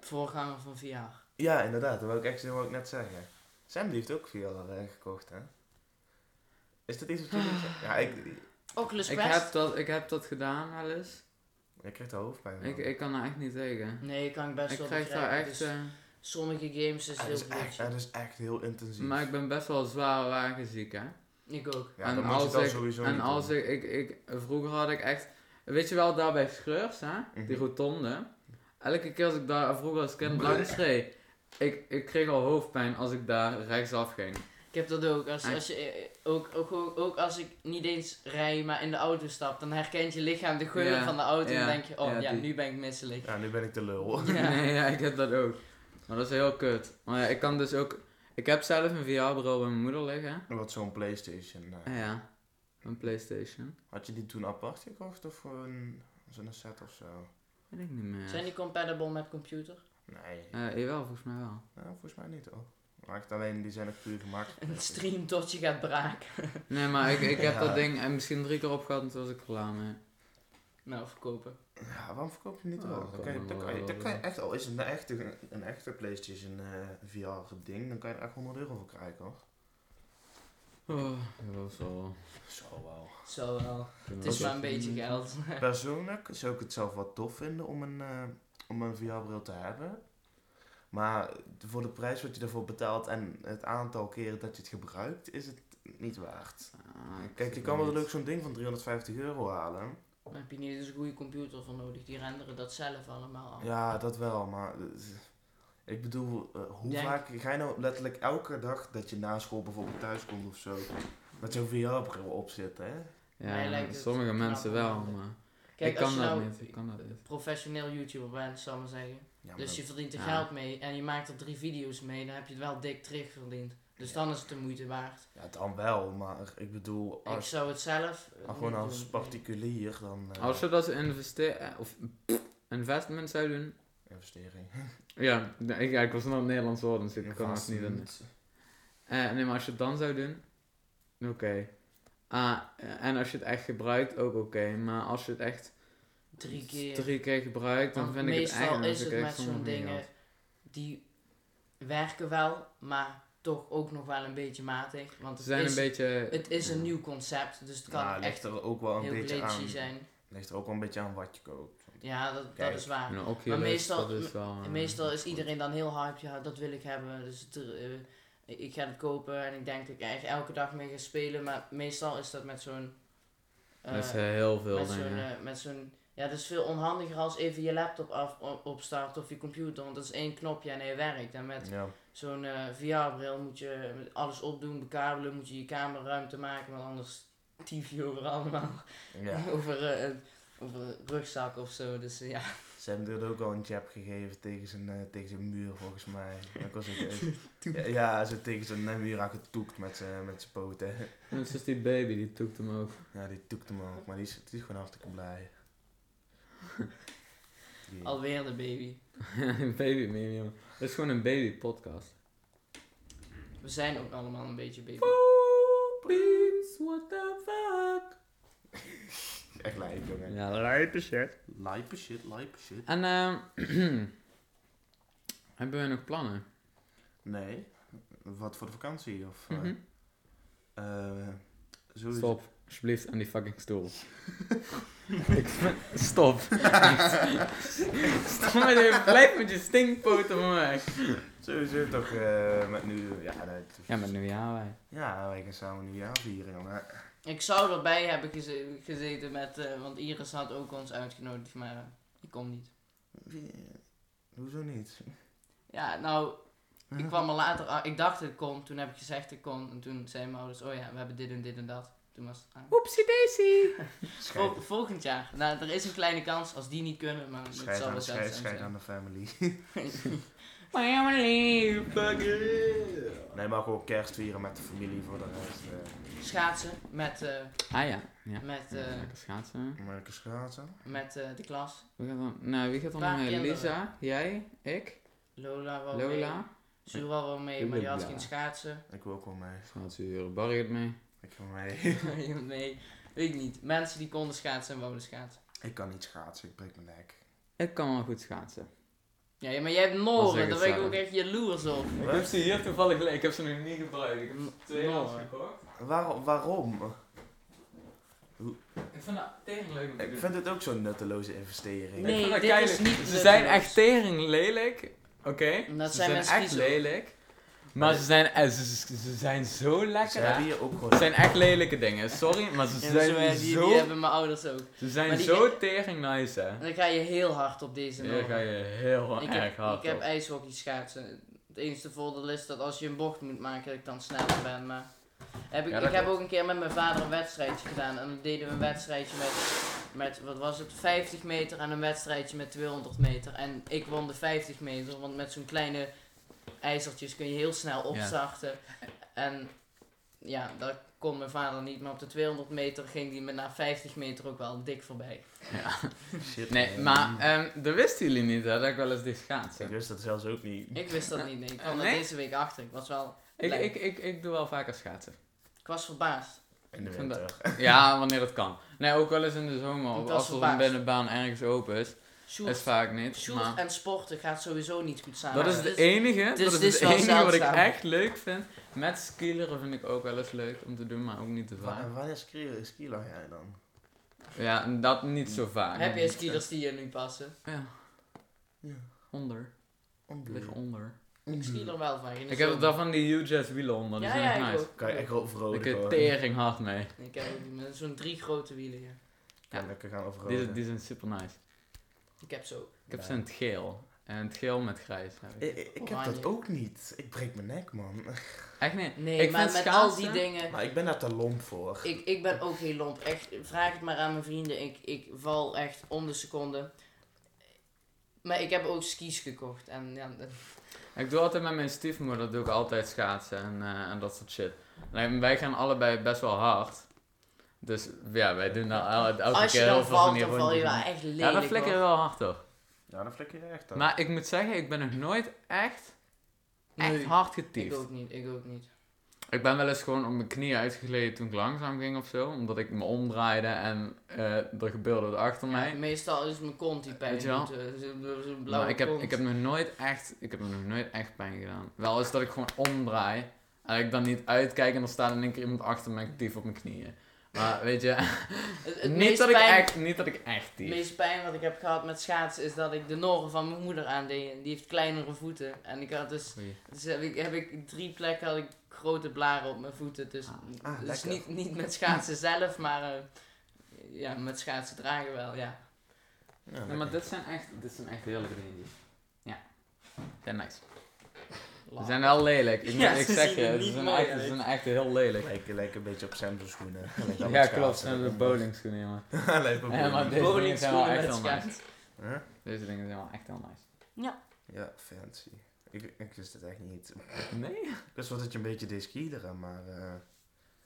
Speaker 3: voorganger van VR.
Speaker 1: ja, inderdaad, dat wil ik echt dat wou ik net zeggen. Sam die heeft ook veel eh, gekocht, hè? Is dat iets wat jullie... ja, ik,
Speaker 3: Oculus
Speaker 2: Ik
Speaker 3: Quest?
Speaker 2: heb, dat, ik heb dat gedaan wel eens.
Speaker 1: ik krijg de hoofdpijn. van.
Speaker 2: Ik, ik kan daar echt niet tegen.
Speaker 3: Nee, ik kan ik best
Speaker 2: Ik
Speaker 3: wel
Speaker 2: krijg daar
Speaker 3: begrijpen.
Speaker 2: echt...
Speaker 3: Dus
Speaker 2: eh,
Speaker 3: sommige games is
Speaker 1: het,
Speaker 3: heel
Speaker 1: is Ah, dus echt,
Speaker 3: goed.
Speaker 1: het is echt heel intensief.
Speaker 2: maar ik ben best wel zwaar wagenziek, hè.
Speaker 3: Ik ook.
Speaker 1: ja,
Speaker 2: en
Speaker 1: dan moet je
Speaker 2: als
Speaker 1: dat
Speaker 2: ik-
Speaker 1: sowieso
Speaker 2: En
Speaker 1: niet
Speaker 2: als
Speaker 1: doen.
Speaker 2: ik, ik, ik... Vroeger had ik echt... Weet je wel, daar bij Schreurs, hè?
Speaker 1: Mhm.
Speaker 2: Die rotonde. Elke keer als ik daar vroeger als kind langs reed... Ik, ik kreeg al hoofdpijn als ik daar
Speaker 1: <laughs>
Speaker 2: rechtsaf ging.
Speaker 3: Ik heb dat ook. Als,
Speaker 2: Ja.
Speaker 3: als je, eh, ook, ook, ook, ook als ik niet eens rij, maar in de auto stap, dan herkent je lichaam de geur
Speaker 2: Ja,
Speaker 3: van de auto
Speaker 2: ja,
Speaker 3: en denk je, oh
Speaker 2: ja,
Speaker 3: ja,
Speaker 2: die-
Speaker 3: nu ben ik misselijk.
Speaker 1: Ja, nu ben ik de lul. <laughs>
Speaker 3: Ja.
Speaker 2: Nee, <laughs> ja, ik heb dat ook. Maar dat is heel kut. Maar ja, ik kan dus ook... Ik heb zelf een VR-bril bij mijn moeder liggen.
Speaker 1: Wat zo'n Playstation. eh.
Speaker 2: Ah ja, een Playstation.
Speaker 1: Had je die toen apart gekocht of gewoon zo'n set of zo?
Speaker 2: Weet ik niet meer.
Speaker 3: Zijn die compatible met computer? <laughs>
Speaker 1: Nee,
Speaker 2: Eh, jawel, volgens mij wel.
Speaker 1: nou, volgens mij niet hoor. Maar echt alleen, die zijn ook puur gemaakt.
Speaker 3: <laughs> Een stream tot je gaat braken.
Speaker 2: Nee, maar ik, ik
Speaker 1: <laughs>
Speaker 2: heb
Speaker 1: Ja.
Speaker 2: dat ding eh, misschien drie keer opgehad en toen was ik er klaar mee.
Speaker 3: Nou, verkopen.
Speaker 1: Ja, waarom verkoop je hem niet
Speaker 2: Oh,
Speaker 1: wel?
Speaker 2: dat
Speaker 1: Dan kan
Speaker 2: kan
Speaker 1: je,
Speaker 2: wel,
Speaker 1: dan kan je,
Speaker 2: wel,
Speaker 1: dan kan je
Speaker 2: wel.
Speaker 1: echt, al is het een echte, een echte PlayStation VR ding, dan kan je er echt 100 euro voor krijgen hoor.
Speaker 2: Oh, dat was wel...
Speaker 1: Zo wel.
Speaker 3: Zo wel. Het is
Speaker 1: Oké.
Speaker 3: maar een beetje geld. <laughs>
Speaker 1: Persoonlijk zou ik het zelf wel tof vinden om een, eh, om een VR-bril te hebben. Maar voor de prijs wat je daarvoor betaalt en het aantal keren dat je het gebruikt, is het niet waard.
Speaker 2: Ah, ik
Speaker 1: Kijk, je
Speaker 2: weet
Speaker 1: kan wel
Speaker 2: niet.
Speaker 1: leuk zo'n ding van 350 euro halen.
Speaker 3: Daar heb je niet eens een goede computer voor nodig. Die renderen dat zelf allemaal af.
Speaker 1: Ja, dat wel, maar eh, ik bedoel, eh, hoe
Speaker 3: Denk-
Speaker 1: vaak ga je nou letterlijk elke dag dat je na school bijvoorbeeld thuis komt of zo, met zo'n VR-bril opzit, hè?
Speaker 2: Ja,
Speaker 3: Mij lijkt het
Speaker 2: sommige
Speaker 3: knap
Speaker 2: mensen
Speaker 3: om-
Speaker 2: wel, maar...
Speaker 3: Kijk,
Speaker 2: ik kan
Speaker 3: als je
Speaker 2: dat
Speaker 3: nou
Speaker 2: niet, ik kan dat niet.
Speaker 3: professioneel YouTuber bent, zal ik maar zeggen.
Speaker 1: Ja,
Speaker 3: Dus je verdient er
Speaker 2: Ja.
Speaker 3: geld mee en je maakt er drie video's mee, dan heb je het wel dik terugverdiend. Dus
Speaker 1: Ja.
Speaker 3: dan is het de moeite waard.
Speaker 1: ja, dan wel, maar ik bedoel,
Speaker 3: Ik
Speaker 1: als,
Speaker 3: zou het zelf. eh,
Speaker 1: maar gewoon
Speaker 3: niet
Speaker 1: als
Speaker 3: doen.
Speaker 1: particulier, dan eh,
Speaker 2: Als je dat investeren... Of investment zou doen...
Speaker 1: investering.
Speaker 2: <laughs> Ja, nee, ik, ja, ik was nog een Nederlands woord, dus ik kan het niet in.
Speaker 1: Investment.
Speaker 2: Eh, nee, maar als je het dan zou doen, oké. Ah, eh, en als je het echt gebruikt, ook oké. Maar als je het echt
Speaker 3: Drie keer.
Speaker 2: drie keer gebruikt, dan
Speaker 3: Want
Speaker 2: vind ik het
Speaker 3: meestal
Speaker 2: eigenlijk...
Speaker 3: is het met zo'n dingen die werken wel, maar toch ook nog wel een beetje matig. Want
Speaker 2: Ze
Speaker 3: het,
Speaker 2: zijn
Speaker 3: is,
Speaker 2: een beetje...
Speaker 3: het is een
Speaker 2: ja.
Speaker 3: nieuw concept, dus het kan
Speaker 1: Nou, ligt
Speaker 3: echt
Speaker 1: er ook wel een
Speaker 3: heel
Speaker 1: beetje
Speaker 3: glitchy
Speaker 1: aan.
Speaker 3: zijn.
Speaker 1: Ligt er ook wel een beetje aan wat je koopt.
Speaker 3: Ja, dat, dat
Speaker 1: Kijk, nou,
Speaker 3: is waar.
Speaker 2: Een Oculus,
Speaker 3: meestal-
Speaker 2: dat is wel... eh,
Speaker 3: En meestal is
Speaker 2: goed.
Speaker 3: iedereen dan heel hyped, ja, dat wil ik hebben. Dus het, eh, ik ga het kopen en ik denk dat ik echt elke dag mee ga spelen. Maar meestal is dat met zo'n. eh,
Speaker 2: dat is heel veel
Speaker 3: met
Speaker 1: nou
Speaker 3: zo'n.
Speaker 2: dingen.
Speaker 3: eh, met zo'n ja, dat is veel onhandiger als even je laptop af, o- opstart of je computer. Want dat is één knopje en hij werkt. En met
Speaker 1: Ja.
Speaker 3: zo'n eh, VR-bril moet je met alles opdoen, bekabelen, moet je je kamer ruimte maken. Want anders tief je over allemaal.
Speaker 1: ja.
Speaker 3: <laughs> over, eh, een- over een rugzak of zo. Dus eh, ja.
Speaker 1: Ze hebben er ook al een jab gegeven tegen zijn, eh, tegen zijn muur, volgens mij. Ik was ook even- ja, ja, ze tegen zijn eh, muur aangetoekt met zijn met zijn poten. <laughs>
Speaker 2: Net zoals die baby, die toekt hem ook.
Speaker 1: Ja, die toekt hem ook, maar die is, die is gewoon hartstikke blij. Die-
Speaker 3: alweer de baby.
Speaker 2: <laughs> een baby meme, jongen. Dat is gewoon een baby podcast.
Speaker 3: We zijn ook allemaal een beetje baby.
Speaker 2: Beams, what the fuck?
Speaker 1: Echt lijp, jongen.
Speaker 2: Ja, lijpe shit.
Speaker 1: Lijpe shit, lijpe shit.
Speaker 2: En ehm <clears throat> hebben we nog plannen?
Speaker 1: Nee. Wat voor de vakantie? Of, eh
Speaker 2: Mhm.
Speaker 1: eh, sowieso-
Speaker 2: Stop, alsjeblieft, aan die fucking stoel. Ik vind- Stop. <laughs> Stop met je, blijf met je stinkpoten van mij.
Speaker 1: Sowieso toch eh, met nu... Ja, nee, het is-
Speaker 2: Ja, maar nu ja, wij.
Speaker 1: Ja, wij gaan samen nieuwjaar vieren, jongen.
Speaker 3: Ik zou erbij hebben geze- gezeten met, eh, want Iris had ook ons uitgenodigd, maar eh, ik kom niet.
Speaker 1: Wie- Hoezo niet?
Speaker 3: Ja, nou, ik kwam er later aan. Ik dacht ik kon, toen heb ik gezegd ik kon. En toen zeiden mijn ouders, oh ja, we hebben dit en dit en dat. Toen was het aan.
Speaker 2: Oepsie daisy.
Speaker 1: Scheid,
Speaker 3: Vol- volgend jaar. Nou, er is een kleine kans als die niet kunnen, maar het zal
Speaker 1: scheid,
Speaker 3: wel
Speaker 1: aan,
Speaker 3: zelfs
Speaker 1: scheid,
Speaker 3: zijn.
Speaker 1: scheid aan de family.
Speaker 2: Maar mijn lief.
Speaker 1: nee, maar gewoon kerst vieren met de familie voor de rest. eh
Speaker 3: <laughs> Schaatsen met, eh,
Speaker 2: Ah ja, ja.
Speaker 3: met,
Speaker 2: Ja,
Speaker 3: eh,
Speaker 2: Lekker schaatsen.
Speaker 1: lekker schaatsen.
Speaker 3: met eh, de klas.
Speaker 2: Wie gaat dan, nou, wie gaat dan
Speaker 3: Paar
Speaker 2: nog mee?
Speaker 3: kinderen.
Speaker 2: Lisa, jij, ik,
Speaker 3: Lola wou mee.
Speaker 2: Lola.
Speaker 3: Zuur wou wel mee, maar die had
Speaker 2: Lola.
Speaker 3: geen schaatsen. <laughs>
Speaker 1: Ik wil ook wel mee.
Speaker 2: Schaatsuur, Barry gaat mee.
Speaker 1: Ik wil mee.
Speaker 3: nee, weet ik niet. Mensen die konden schaatsen en wouden schaatsen.
Speaker 1: ik kan niet schaatsen, ik breek mijn nek.
Speaker 2: Ik kan wel goed schaatsen.
Speaker 3: Ja, ja, maar jij hebt
Speaker 2: Als ik
Speaker 3: Noren,
Speaker 2: het
Speaker 3: daar ben ik
Speaker 2: zou.
Speaker 3: ook echt jaloers op.
Speaker 2: Ik heb ze hier toevallig liggen. Ik heb ze nog niet gebruikt. Ik heb
Speaker 3: ze
Speaker 2: ze tweedehands
Speaker 3: tweedehands Noor.
Speaker 2: gekocht.
Speaker 1: Waar, waarom?
Speaker 2: Ik vind dat tering leuk om te
Speaker 1: Ik
Speaker 2: doen.
Speaker 1: vind het ook zo'n nutteloze investering.
Speaker 3: Nee,
Speaker 2: Ik vind dat
Speaker 3: dit
Speaker 2: keilelijk.
Speaker 3: is niet
Speaker 2: Ze zijn
Speaker 3: nutteloos.
Speaker 2: echt tering lelijk. Oké.
Speaker 3: Dat
Speaker 2: ze
Speaker 3: zijn
Speaker 2: zijn
Speaker 3: mensen
Speaker 2: echt
Speaker 3: die zo-
Speaker 2: lelijk. Maar ze zijn, eh, ze, ze- ze zijn zo
Speaker 1: Ze
Speaker 2: lekker.
Speaker 1: hebben
Speaker 2: hè?
Speaker 1: hier ook gewoon...
Speaker 2: Het zijn echt lelijke dingen, sorry, maar ze
Speaker 3: Ja, dat is waar,
Speaker 2: zijn
Speaker 3: die,
Speaker 2: zo,
Speaker 3: die hebben mijn ouders ook.
Speaker 2: ze
Speaker 3: maar
Speaker 2: zijn
Speaker 3: die-
Speaker 2: zo tering nice, hè.
Speaker 3: En dan ga je heel hard op deze
Speaker 2: Hier ga
Speaker 3: Noren.
Speaker 2: je heel
Speaker 3: Ik
Speaker 2: erg
Speaker 3: heb,
Speaker 2: hard
Speaker 3: ik heb
Speaker 2: op.
Speaker 3: ijshockey schaatsen. Het enige voordeel is dat als je een bocht moet maken, dat ik dan sneller ben. Maar heb ik
Speaker 2: Ja, dat
Speaker 3: ik heb
Speaker 2: klopt.
Speaker 3: ook een keer met mijn vader een wedstrijdje gedaan. En dan deden we een wedstrijdje met, met, wat was het, 50 meter en een wedstrijdje met 200 meter. En ik won de 50 meter, want met zo'n kleine ijzertjes kun je heel snel opzachten. En ja, dat kon mijn vader niet. Maar op de 200 meter ging hij me na 50 meter ook wel dik voorbij.
Speaker 2: Ja.
Speaker 1: Shit,
Speaker 2: Nee,
Speaker 1: man.
Speaker 2: maar
Speaker 3: eh,
Speaker 2: ehm dat wisten jullie niet, hè, dat ik wel eens dit
Speaker 1: Ik
Speaker 2: schaatsen.
Speaker 1: wist Dus dat zelfs ook niet.
Speaker 3: Ik wist dat niet, nee. Ik kwam
Speaker 2: Eh,
Speaker 3: er
Speaker 2: nee?
Speaker 3: deze week achter. Ik was wel...
Speaker 2: Ik,
Speaker 3: Leuk.
Speaker 2: ik, ik, ik doe wel vaker schaatsen. <laughs>
Speaker 3: Ik was verbaasd.
Speaker 1: In de
Speaker 2: Ik vind dat-
Speaker 1: winter.
Speaker 2: Ja, wanneer het kan. Nee, ook wel eens in de zomer,
Speaker 3: Ik
Speaker 2: of
Speaker 3: was
Speaker 2: als er een
Speaker 3: verbaasd.
Speaker 2: binnenbaan ergens open is. Is
Speaker 3: Sjoerd,
Speaker 2: vaak niet,
Speaker 3: Sjoerd
Speaker 2: maar...
Speaker 3: en sporten gaat sowieso niet goed samen.
Speaker 2: Dat is
Speaker 3: Dus
Speaker 2: het enige,
Speaker 3: dus
Speaker 2: dat
Speaker 3: dit
Speaker 2: is
Speaker 3: is
Speaker 2: het <laughs>
Speaker 3: wel
Speaker 2: enige wat ik
Speaker 3: zeldzaam.
Speaker 2: echt leuk vind. Met skileren vind ik ook wel eens leuk om te doen, maar ook niet te
Speaker 1: Wa-
Speaker 2: vaak.
Speaker 1: en Wanneer ski- skila jij dan?
Speaker 2: Ja, dat niet zo vaak.
Speaker 3: Heb je skiers die je nu passen?
Speaker 2: Ja,
Speaker 1: Ja.
Speaker 2: onder.
Speaker 1: Ondoe.
Speaker 2: Lig onder.
Speaker 3: Ik
Speaker 1: Mm.
Speaker 3: ski er wel van. in de
Speaker 2: Ik heb er
Speaker 3: zomer.
Speaker 2: dan van die UJS wielen onder, die
Speaker 3: Ja,
Speaker 2: zijn
Speaker 3: ja,
Speaker 2: echt
Speaker 3: ik
Speaker 2: nice.
Speaker 3: ook.
Speaker 1: Kan je echt wel
Speaker 2: Ik
Speaker 1: overroden
Speaker 2: heb
Speaker 1: worden.
Speaker 2: tering hard mee.
Speaker 3: Ik heb ook die met zo'n drie grote wielen. Ja.
Speaker 1: Kan lekker gaan
Speaker 2: Die,
Speaker 1: overroden.
Speaker 2: die zijn super nice.
Speaker 3: Ik heb ze ook.
Speaker 2: Ik heb
Speaker 1: Ja. Eh,
Speaker 2: ze in het geel. En het geel met grijs. heb ik.
Speaker 1: Ik, ik- ik heb dat
Speaker 3: Oranje.
Speaker 1: ook niet. Ik breek mijn nek, man.
Speaker 2: Echt niet.
Speaker 3: Nee,
Speaker 2: ik
Speaker 3: maar met
Speaker 2: vind
Speaker 3: al die
Speaker 2: schaatsen-
Speaker 3: dingen.
Speaker 1: Maar ik ben daar te lomp voor.
Speaker 3: Ik, ik ben ook heel lomp. Echt, vraag het maar aan mijn vrienden. Ik, ik val echt om de seconde. Maar ik heb ook skis gekocht. En ja, dat-
Speaker 2: Ik doe altijd met mijn stiefmoeder, doe ik altijd schaatsen en, eh, en dat soort shit. En wij gaan allebei best wel hard. Dus ja, wij doen daar al- elke
Speaker 3: als je
Speaker 2: keer heel
Speaker 3: dan
Speaker 2: veel van
Speaker 3: valt,
Speaker 2: die
Speaker 3: dan val je
Speaker 2: rondjes.
Speaker 3: wel echt lelijk.
Speaker 2: Ja, dat flikker je
Speaker 3: hoor.
Speaker 2: wel hard toch.
Speaker 1: Ja, dan flikker je echt aan.
Speaker 2: Maar ik moet zeggen, ik ben nog nooit echt, echt
Speaker 3: Nee,
Speaker 2: hard
Speaker 3: ik
Speaker 2: getiefd.
Speaker 3: ook niet. Ik ook niet.
Speaker 2: Ik ben wel eens gewoon op mijn knieën uitgegleden toen ik langzaam ging of zo. Omdat ik me omdraaide en eh, er gebeurde wat achter mij.
Speaker 3: Ja, meestal is mijn kont die pijn.
Speaker 2: Weet je wel?
Speaker 3: doet, eh, zo- Zo'n blauwe
Speaker 2: Maar ik heb,
Speaker 3: kont.
Speaker 2: ik heb nog nooit echt, ik heb me nog nooit echt pijn gedaan. Wel is dat ik gewoon omdraai en ik dan niet uitkijk en dan staat in één keer iemand achter me en ik tief op mijn knieën. Maar weet je,
Speaker 3: <laughs> Het, het
Speaker 2: niet
Speaker 3: meest
Speaker 2: dat, ik
Speaker 3: pijn,
Speaker 2: echt, niet dat ik echt
Speaker 3: het
Speaker 2: tief.
Speaker 3: meest pijn wat ik heb gehad met schaatsen is dat ik de noren van mijn moeder aandeed. En die heeft kleinere voeten. En ik had dus,
Speaker 2: Oei.
Speaker 3: dus heb, ik, heb ik drie plekken had ik grote blaren op mijn voeten. Dus,
Speaker 1: Ah,
Speaker 3: dus
Speaker 1: lekker.
Speaker 3: niet, niet met schaatsen zelf, maar eh, ja, met schaatsen dragen wel, ja.
Speaker 1: Ja,
Speaker 2: Nee,
Speaker 1: lekker.
Speaker 2: maar dit zijn echt, dit zijn echt heerlijke dingetjes. Ja. Zijn nice. Ze
Speaker 3: Laat.
Speaker 2: zijn wel lelijk. Ik, moet-
Speaker 3: Ja,
Speaker 2: ik
Speaker 3: ze
Speaker 2: zeg
Speaker 3: zien
Speaker 2: je,
Speaker 3: er
Speaker 2: ze
Speaker 3: niet
Speaker 2: zijn,
Speaker 3: mooi
Speaker 2: echt, ze
Speaker 3: uit.
Speaker 2: zijn echt heel lelijk.
Speaker 1: Lijkt lijkt een beetje op Sam's
Speaker 2: <laughs>
Speaker 1: schoenen. Lijkt wel
Speaker 2: Ja,
Speaker 1: op
Speaker 2: klopt.
Speaker 1: schaatsen.
Speaker 2: Zijn de
Speaker 1: <laughs>
Speaker 2: bowlingschoenen, jongen.
Speaker 1: Lijkt wel
Speaker 2: Ja, maar
Speaker 1: bowling.
Speaker 2: dit- Deze dingen zijn wel
Speaker 3: Bowlingschoenen
Speaker 2: echt
Speaker 3: met
Speaker 2: heel nice.
Speaker 3: schaatsen.
Speaker 1: Huh?
Speaker 2: Deze dingen zijn wel echt heel nice.
Speaker 1: Ja, fancy. Ik, ik wist het echt niet.
Speaker 2: Nee?
Speaker 1: Ik wist wel dat je een beetje deed skileren, maar... eh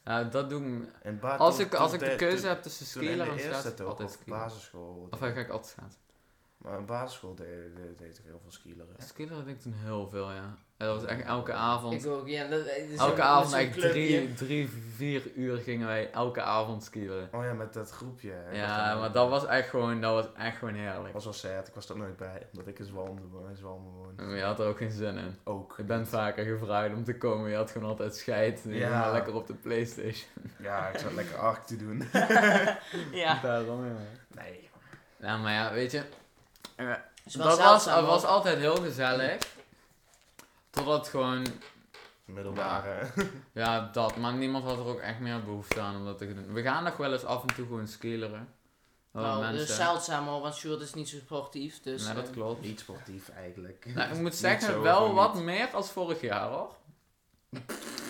Speaker 2: Ja, dat doe ik.
Speaker 1: en ba-
Speaker 2: Als
Speaker 1: toen-
Speaker 2: ik, als
Speaker 1: toen
Speaker 2: ik de
Speaker 1: toen-
Speaker 2: keuze heb tussen
Speaker 1: Toen in
Speaker 2: skileren
Speaker 1: de
Speaker 2: en
Speaker 1: eerste
Speaker 2: schaatsen,
Speaker 1: toch,
Speaker 2: altijd
Speaker 1: op
Speaker 2: skileren.
Speaker 1: basisschool.
Speaker 2: Of ga ik altijd schaatsen?
Speaker 1: Maar op basisschool deed, deed, deed ik heel veel skileren.
Speaker 2: Skillen had ik toen heel veel, ja. En dat was echt elke avond.
Speaker 3: Ik ook, ja. Dat, dat is ook
Speaker 2: elke
Speaker 3: met
Speaker 2: avond
Speaker 3: zo'n
Speaker 2: echt
Speaker 3: clubje.
Speaker 2: drie, drie, vier uur gingen wij elke avond skileren.
Speaker 1: Oh ja, met dat groepje. hè. Ik was
Speaker 2: Ja,
Speaker 1: daar-
Speaker 2: maar dat was echt gewoon, dat was echt gewoon
Speaker 1: Ik
Speaker 2: heerlijk.
Speaker 1: was wel sad, ik was er nooit bij, omdat ik in Zwalm woon. In Zwalm woon.
Speaker 2: Maar je had er ook geen zin in.
Speaker 1: Ook.
Speaker 2: Je bent vaker gevraagd om te komen, je had gewoon altijd scheid. Je ging
Speaker 1: Ja.
Speaker 2: maar lekker op de Playstation.
Speaker 1: Ja, ik zat lekker ark te doen. <laughs>
Speaker 3: ja.
Speaker 2: <laughs> Daarom, ja.
Speaker 1: Nee.
Speaker 2: Nou, maar ja, weet je,
Speaker 3: Dus wel
Speaker 2: dat was,
Speaker 3: zeldzaam,
Speaker 2: was
Speaker 3: hoor.
Speaker 2: altijd heel gezellig. Totdat het gewoon,
Speaker 1: Middelbare.
Speaker 2: ja, dat. Maar niemand had er ook echt meer behoefte aan om dat te doen. We gaan nog wel eens af en toe gewoon skileren. Oh,
Speaker 3: Nou, dat
Speaker 2: mensen.
Speaker 3: is zeldzaam hoor, want Sjoerd is niet zo sportief. Dus,
Speaker 2: nou, dat
Speaker 3: eh,
Speaker 2: klopt.
Speaker 1: Niet sportief eigenlijk.
Speaker 2: Nou,
Speaker 1: <laughs>
Speaker 2: ik moet
Speaker 1: Niet
Speaker 2: zeggen,
Speaker 1: zo,
Speaker 2: wel
Speaker 1: gewoon
Speaker 2: wat
Speaker 1: niet.
Speaker 2: meer als vorig jaar hoor.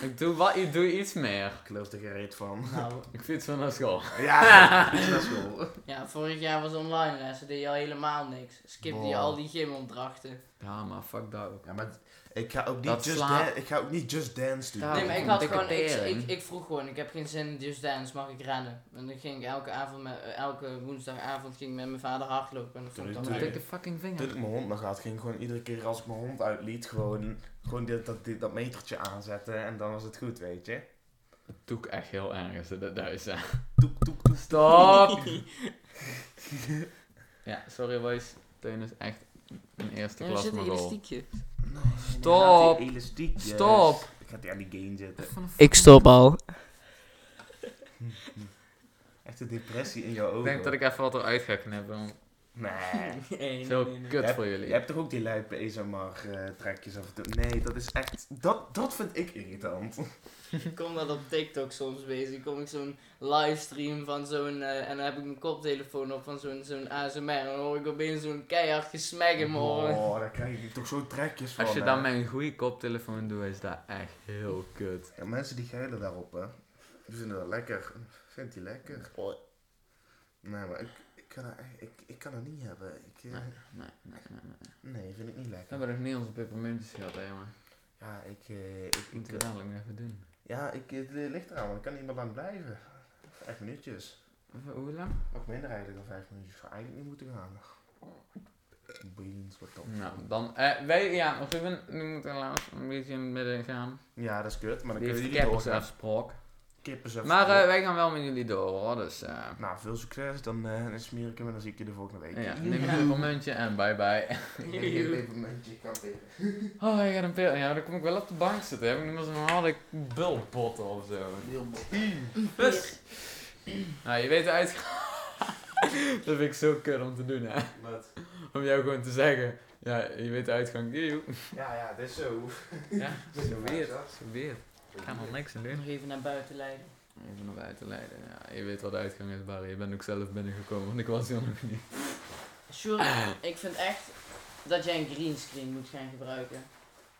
Speaker 2: ik, doe wat, ik doe iets meer.
Speaker 1: Ik geloof er geen reet
Speaker 2: <laughs>
Speaker 1: van.
Speaker 3: nou,
Speaker 2: Ik fiets wel naar school. <laughs>
Speaker 1: Ja, ik naar school.
Speaker 3: ja, vorig jaar was online lessen, deed je al helemaal niks. Skipte je
Speaker 1: Wow.
Speaker 3: al die gymopdrachten.
Speaker 2: Ja, maar fuck dat ook.
Speaker 1: Ja, maar ik ga ook
Speaker 2: Dat
Speaker 1: niet, just,
Speaker 2: slaat-
Speaker 1: dan- ik ga ook niet just dance doen.
Speaker 2: Ja,
Speaker 3: nee, maar
Speaker 2: dat
Speaker 3: ik
Speaker 2: vond
Speaker 3: had
Speaker 2: ik
Speaker 3: gewoon, ik,
Speaker 2: tering.
Speaker 3: ik, ik vroeg gewoon, ik heb geen zin in Just Dance, mag ik rennen? En dan ging ik elke avond, met, eh, elke woensdagavond ging ik met mijn vader hardlopen. En dat vond
Speaker 1: Doe
Speaker 3: ik dan
Speaker 1: je
Speaker 2: Een
Speaker 1: doe
Speaker 3: leuk.
Speaker 2: dikke fucking
Speaker 1: Toen
Speaker 2: vinger.
Speaker 1: ik mijn hond nog had, ging ik gewoon iedere keer als ik mijn hond uitliet, gewoon, gewoon dit, dat, dit, dat metertje aanzetten en dan was het goed, weet je.
Speaker 2: Dat doe ik echt heel erg als ze dat thuis zijn.
Speaker 1: Toek, toek, toek.
Speaker 2: Stop! <laughs> ja, sorry boys. Teun is echt een eerste
Speaker 3: Ja, er
Speaker 2: klas
Speaker 3: zit een
Speaker 2: mogol.
Speaker 3: elastiekje.
Speaker 2: Stop.
Speaker 1: Nee, elastiek.
Speaker 2: Stop!
Speaker 1: Ik ga die aan die gain zetten.
Speaker 3: Ik stop al.
Speaker 1: Echt een depressie in jouw ogen.
Speaker 2: Ik denk dat ik even wat eruit ga knippen. want <laughs>
Speaker 1: Nee.
Speaker 3: Nee,
Speaker 2: Zo
Speaker 3: nee, nee.
Speaker 2: kut
Speaker 1: Je
Speaker 2: voor
Speaker 1: Je
Speaker 2: jullie.
Speaker 1: hebt toch ook die lijpe ASMR-trekjes eh, af en toe? Nee, dat is echt... Dat, dat vind ik irritant.
Speaker 3: Ik kom dat op TikTok soms bezig. Kom ik zo'n livestream van zo'n. eh, en dan heb ik mijn koptelefoon op van zo'n zo'n ASMR. En dan hoor ik opeens zo'n keihard gesmek in mijn oren. <laughs>
Speaker 1: Oh, daar krijg ik toch zo trekjes van,
Speaker 2: Als je
Speaker 1: hè?
Speaker 2: dan met een goede koptelefoon doet, is dat echt heel kut.
Speaker 1: Ja, mensen die geilen daarop, hè. Die vinden dat lekker. Vindt die lekker? Nee, maar ik, ik, kan, dat, echt- ik, ik kan dat niet hebben. Ik, eh,
Speaker 2: Nee, nee, nee, nee. nee.
Speaker 1: nee, vind ik niet
Speaker 2: We
Speaker 1: lekker.
Speaker 2: hebben nog niet onze peppermuntjes gehad, hè, jongen.
Speaker 1: Ja, ik... eh,
Speaker 2: Dat
Speaker 1: ik,
Speaker 2: moeten we
Speaker 1: ik-
Speaker 2: dadelijk nog even doen.
Speaker 1: ja, ik, het eh, ligt eraan, want ik kan niet meer lang blijven. Vijf minuutjes.
Speaker 2: Even- eh, Hoe lang?
Speaker 1: Ook minder eigenlijk dan vijf minuutjes. Zou eigenlijk niet moeten gaan. Beans, wat dan?
Speaker 2: Nou, dan... eh wij, ja, Ruben, nu moeten helaas een beetje in het midden gaan.
Speaker 1: Ja, dat is kut, maar dan
Speaker 2: Die
Speaker 1: kunnen
Speaker 2: heeft
Speaker 1: jullie doorgaan.
Speaker 2: keppersafspraak.
Speaker 1: Kippen ze
Speaker 2: Maar
Speaker 1: even-
Speaker 2: eh, wij gaan wel met jullie door, hoor. Dus, eh
Speaker 1: Nou, veel succes. Dan eh, dan smeer ik hem en dan zie ik je de volgende week.
Speaker 2: ja, neem een peppermuntje en bye-bye.
Speaker 1: Even kan
Speaker 2: Oh, hij gaat een pil. Ja, dan kom ik wel op de bank zitten. Heb ik niet meer zo'n harde bulbotten of zo. Dus... Nou, je weet de uitgang. <laughs> dat vind ik zo kut om te doen, hè.
Speaker 1: Wat?
Speaker 2: Om jou gewoon te zeggen... Ja, je weet de uitgang. Joe.
Speaker 1: Ja, ja, dit is zo.
Speaker 2: Ja,
Speaker 1: Dit is zo
Speaker 2: Weer.
Speaker 1: vaak,
Speaker 2: zo weer. Ik ga nog niks aan doen.
Speaker 3: Nog even naar buiten leiden.
Speaker 2: Even naar buiten leiden. Ja, je weet wat de uitgang is, Barry. Je bent ook zelf binnengekomen, want ik was hier nog niet.
Speaker 3: Sjoerd, ik vind echt dat jij een greenscreen moet gaan gebruiken.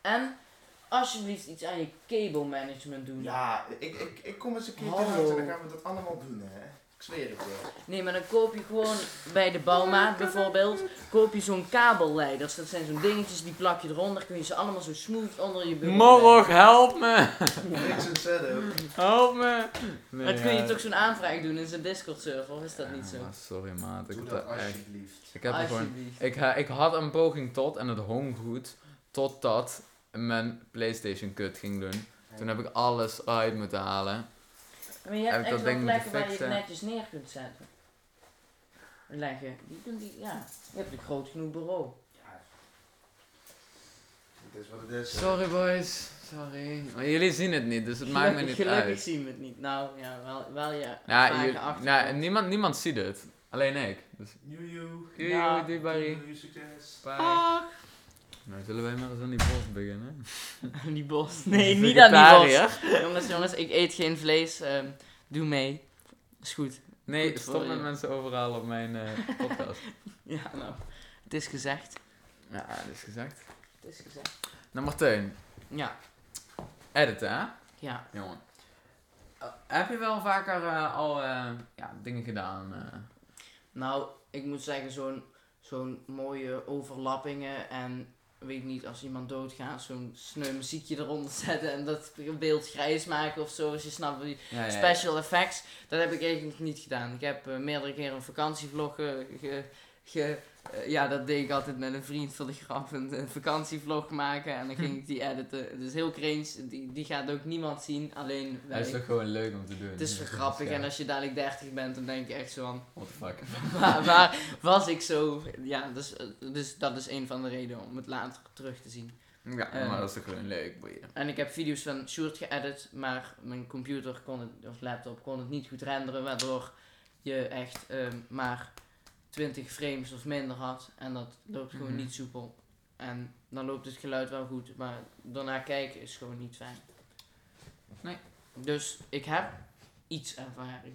Speaker 3: En alsjeblieft iets aan je cable management
Speaker 1: zo.
Speaker 3: doen.
Speaker 1: Ja, ik, ik, ik kom eens een keer
Speaker 3: Hallo.
Speaker 1: terug en dan gaan we dat allemaal doen, hè. Ik zweer het wel.
Speaker 3: Nee, maar dan koop je gewoon bij de bouwmaat bijvoorbeeld, koop je zo'n kabelleiders. Dat zijn zo'n dingetjes, die plak je eronder, kun je ze allemaal zo smooth onder je bureau
Speaker 2: Morg, help me!
Speaker 1: Niks in setup.
Speaker 2: Help me! Nee,
Speaker 3: leggen. Maar dan kun
Speaker 2: ja.
Speaker 3: je toch zo'n aanvraag doen in zijn Discord server, of is dat niet zo?
Speaker 2: Ja, maar sorry, maat. Ik,
Speaker 1: Doe
Speaker 2: heb
Speaker 1: dat
Speaker 2: daar echt...
Speaker 1: alsjeblieft.
Speaker 2: ik heb er gewoon...
Speaker 3: Alsjeblieft.
Speaker 2: Ik, ha- ik had een poging tot en het hong goed totdat mijn Playstation kut ging doen. Toen heb ik alles uit moeten halen.
Speaker 3: Maar je hebt
Speaker 2: Heb ik dat
Speaker 3: echt wel
Speaker 2: ding moeten
Speaker 3: plekken waar je het
Speaker 2: fixen?
Speaker 3: netjes neer kunt zetten. Leggen. Die kunt die, ja. Je hebt een groot genoeg bureau.
Speaker 1: Ja. Het is wat het is. hè.
Speaker 2: Sorry boys, sorry. Maar jullie zien het niet, dus het maakt me
Speaker 3: Gelukkig-
Speaker 2: niet
Speaker 3: Gelukkig
Speaker 2: uit.
Speaker 3: zien we het niet. Nou, ja, wel, wel ja.
Speaker 2: Ja,
Speaker 3: vage
Speaker 2: jullie- nou,
Speaker 3: achtergrond.
Speaker 2: niemand, niemand ziet het. Alleen ik. Dus
Speaker 1: Joejoe.
Speaker 2: Joe,
Speaker 3: Ja.
Speaker 2: doei Barry.
Speaker 1: Joejoe, succes.
Speaker 2: Bye.
Speaker 3: Ah,
Speaker 2: Nou, zullen wij maar eens aan die bos beginnen?
Speaker 3: aan <laughs> die
Speaker 2: <laughs>
Speaker 3: bos. Nee, niet aan die
Speaker 2: Vegetariër.
Speaker 3: bos. <laughs> jongens, jongens, ik eet geen vlees. ehm, doe mee. Is goed.
Speaker 2: Nee,
Speaker 3: Goed
Speaker 2: stop
Speaker 3: voor
Speaker 2: met
Speaker 3: je.
Speaker 2: mensen overhalen op mijn
Speaker 3: <laughs>
Speaker 2: eh, podcast.
Speaker 3: Ja, nou. Het is gezegd.
Speaker 2: ja, dat is gezegd.
Speaker 3: Het is gezegd.
Speaker 2: Nou, Martijn,
Speaker 3: Ja,
Speaker 2: editen hè?
Speaker 3: ja.
Speaker 2: Jongen. Eh, heb je wel vaker eh, al eh, ja, dingen gedaan? eh?
Speaker 3: Nou, ik moet zeggen, zo'n zo'n mooie overlappingen en weet ik niet, als iemand doodgaat, zo'n sneu muziekje eronder zetten en dat beeld grijs maken of zo, als je snapt wat ik-
Speaker 2: Ja, ja, ja.
Speaker 3: Special effects, dat heb ik eigenlijk niet gedaan. Ik heb eh, meerdere keren een vakantievlog eh, ge- ge, eh, ja, dat deed ik altijd met een vriend voor de grap. Een, een vakantievlog maken en dan ging ik die editen. Dus heel cringe. Die, die gaat ook niemand zien, alleen wij.
Speaker 2: Hij is toch gewoon leuk om te doen.
Speaker 3: Het
Speaker 2: <laughs>
Speaker 3: is grappig en als je dadelijk 30 bent, dan denk je echt zo van,
Speaker 2: What the fuck.
Speaker 3: <laughs> waar, waar was ik zo? Ja, dus, eh, dus dat is een van de redenen om het later terug te zien.
Speaker 2: <laughs> Ja,
Speaker 3: Eh,
Speaker 2: maar dat is toch gewoon leuk, boeien.
Speaker 3: En ik heb video's van Sjoerd geëdit, maar mijn computer kon het, of laptop kon het niet goed renderen, waardoor je echt ehm, maar 20 frames of minder had. En dat loopt gewoon
Speaker 2: Mhm.
Speaker 3: niet soepel. En dan loopt het geluid wel goed, maar daarna kijken is gewoon niet fijn.
Speaker 2: Nee.
Speaker 3: Dus ik heb iets ervaring.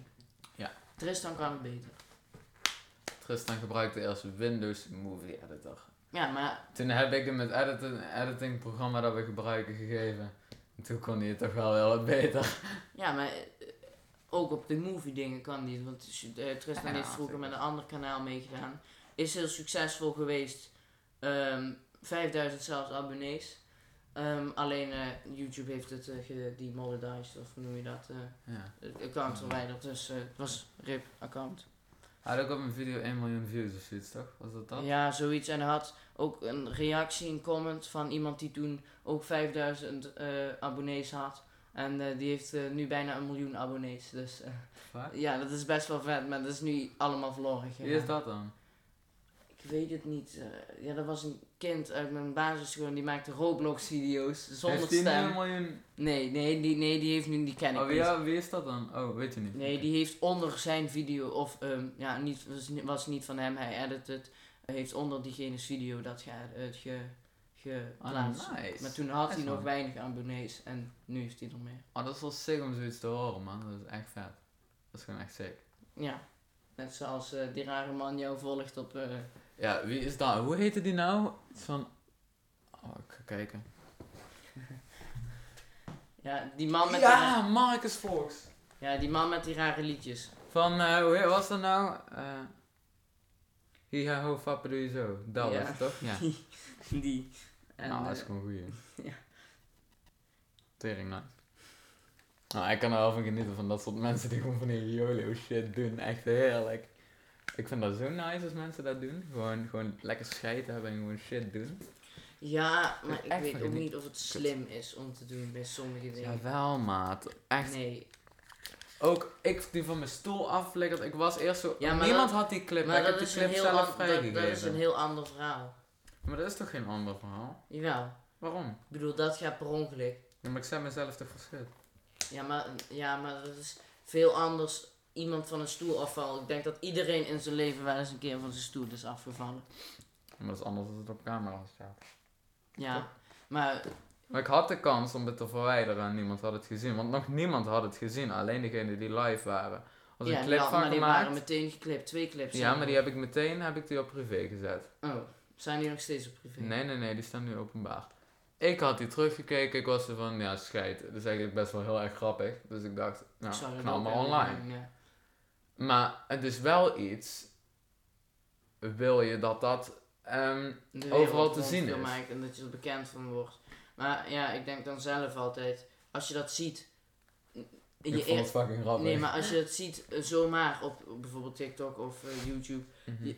Speaker 2: Ja.
Speaker 3: Tristan kan het beter.
Speaker 2: Tristan gebruikte eerst Windows Movie Editor.
Speaker 3: Ja, maar
Speaker 2: Toen heb ik hem het editing, editing programma dat we gebruiken gegeven. En toen kon hij het toch wel heel wat beter.
Speaker 3: Ja, maar eh, ook op de movie dingen kan niet. Want eh, Tristan
Speaker 2: Ja,
Speaker 3: heeft vroeger
Speaker 2: zeker.
Speaker 3: met een ander kanaal meegedaan. Is heel succesvol geweest. Ehm, 5000 zelfs abonnees. Ehm, alleen eh, YouTube heeft het eh gedemolidized, of hoe noem je dat?
Speaker 2: <laughs>
Speaker 3: eh,
Speaker 2: Ja.
Speaker 3: het
Speaker 2: Mm.
Speaker 3: account verwijderd. Dus eh, het was RIP account.
Speaker 2: Hij had ook op een video 1 miljoen views of zoiets, toch? Was dat dat?
Speaker 3: Ja, zoiets. En hij had ook een reactie, een comment van iemand die toen ook 5000 eh, abonnees had. En eh, die heeft eh, nu bijna een miljoen abonnees. Dus eh,
Speaker 2: Fuck.
Speaker 3: Ja, dat is best wel vet, maar dat is nu allemaal verloren gegaan.
Speaker 2: Wie is dat dan?
Speaker 3: Ik weet het niet. eh, ja, dat was een kind uit mijn basisschool die maakte Roblox-video's zonder
Speaker 2: Heeft hij nu een
Speaker 3: stem.
Speaker 2: miljoen...
Speaker 3: Nee, nee, die, nee, die heeft nu, die ken ik
Speaker 2: Oh
Speaker 3: niet.
Speaker 2: ja, wie is dat dan? Oh, weet je niet.
Speaker 3: Nee, die heeft onder zijn video, of ehm, ja, niet, was, ni- was niet van hem, hij edit het, heeft onder diegene's video dat ge, het ge,
Speaker 2: Ah,
Speaker 3: geplaatst.
Speaker 2: nice.
Speaker 3: Maar toen had
Speaker 2: Echt
Speaker 3: hij nog
Speaker 2: waar.
Speaker 3: weinig abonnees en nu heeft hij er meer.
Speaker 2: Oh, dat is wel sick om zoiets te horen, man. Dat is echt vet. Dat is gewoon echt sick.
Speaker 3: Ja, net zoals eh, die rare man jou volgt op... eh,
Speaker 2: Ja, wie is dat? Hoe heette die nou? Iets van... Oh, ik ga kijken.
Speaker 3: ja, die man met die ra-
Speaker 2: ja, Marcus Fox.
Speaker 3: Ja, die man met die rare liedjes.
Speaker 2: Van, eh, hoe heet- was dat nou? Eh hi ha ho fappen doe je zo. Dat
Speaker 3: Ja.
Speaker 2: was het, toch? Ja.
Speaker 3: Die. En,
Speaker 2: nou, dat
Speaker 3: eh,
Speaker 2: is gewoon goed.
Speaker 3: <laughs> ja.
Speaker 2: Tering, nice. Nou, ik kan er wel van genieten van dat soort mensen die gewoon van die YOLO shit doen. Echt heerlijk. Ik vind dat zo nice als mensen dat doen. Gewoon, gewoon lekker scheid hebben en gewoon shit doen.
Speaker 3: ja, maar ik
Speaker 2: Echt
Speaker 3: weet
Speaker 2: van
Speaker 3: ook
Speaker 2: geniet-
Speaker 3: niet of het slim is om te doen bij sommige dingen.
Speaker 2: Jawel, maat. Echt.
Speaker 3: Nee.
Speaker 2: Ook ik die van mijn stoel afflikkert. Ik was eerst zo...
Speaker 3: Ja, maar
Speaker 2: Niemand
Speaker 3: dat-
Speaker 2: had die clip.
Speaker 3: Maar
Speaker 2: ik heb die
Speaker 3: dat is, een
Speaker 2: clip
Speaker 3: heel
Speaker 2: zelf
Speaker 3: an- dat,
Speaker 2: vrijgegeven.
Speaker 3: dat is een heel ander verhaal.
Speaker 2: Maar dat is toch geen ander verhaal?
Speaker 3: Jawel.
Speaker 2: Waarom?
Speaker 3: Ik bedoel, dat gaat per ongeluk.
Speaker 2: Ja, maar ik zet mezelf toch voor schut.
Speaker 3: Ja maar, ja, maar dat is veel anders. Iemand van een stoel afvallen. Ik denk dat iedereen in zijn leven wel eens een keer van zijn stoel is afgevallen.
Speaker 2: Maar dat is anders als het op camera staat.
Speaker 3: Ja. Maar
Speaker 2: Maar ik had de kans om het te verwijderen en niemand had het gezien. Want nog niemand had het gezien. Alleen degenen die live waren. Als
Speaker 3: ja,
Speaker 2: een
Speaker 3: die
Speaker 2: clip
Speaker 3: had-
Speaker 2: van
Speaker 3: maar die waren
Speaker 2: gemaakt.
Speaker 3: meteen geklipt. Twee clips.
Speaker 2: Ja, maar die heb ik meteen heb ik die op privé gezet.
Speaker 3: Oh, zijn die nog steeds op privé?
Speaker 2: Nee, nee, nee, die staan nu openbaar. Ik had die teruggekeken. Ik was er van, ja, scheid. Dat is eigenlijk best wel heel erg grappig. Dus ik dacht,
Speaker 3: Ik
Speaker 2: nou,
Speaker 3: zou dat
Speaker 2: knal
Speaker 3: ook
Speaker 2: maar
Speaker 3: wel
Speaker 2: online.
Speaker 3: doen, ja.
Speaker 2: Maar het is wel iets. Wil je dat dat. ehm,
Speaker 3: de
Speaker 2: overal
Speaker 3: wereld
Speaker 2: te
Speaker 3: rond
Speaker 2: zien
Speaker 3: wil
Speaker 2: is.
Speaker 3: maken en dat je er bekend van wordt. Maar ja, ik denk dan zelf altijd, als je dat ziet. n-
Speaker 2: ik
Speaker 3: je
Speaker 2: vond
Speaker 3: eer-
Speaker 2: het fucking grappig.
Speaker 3: nee, maar als je dat ziet eh, zomaar op eh, bijvoorbeeld TikTok of eh, YouTube,
Speaker 2: Mhm.
Speaker 3: je-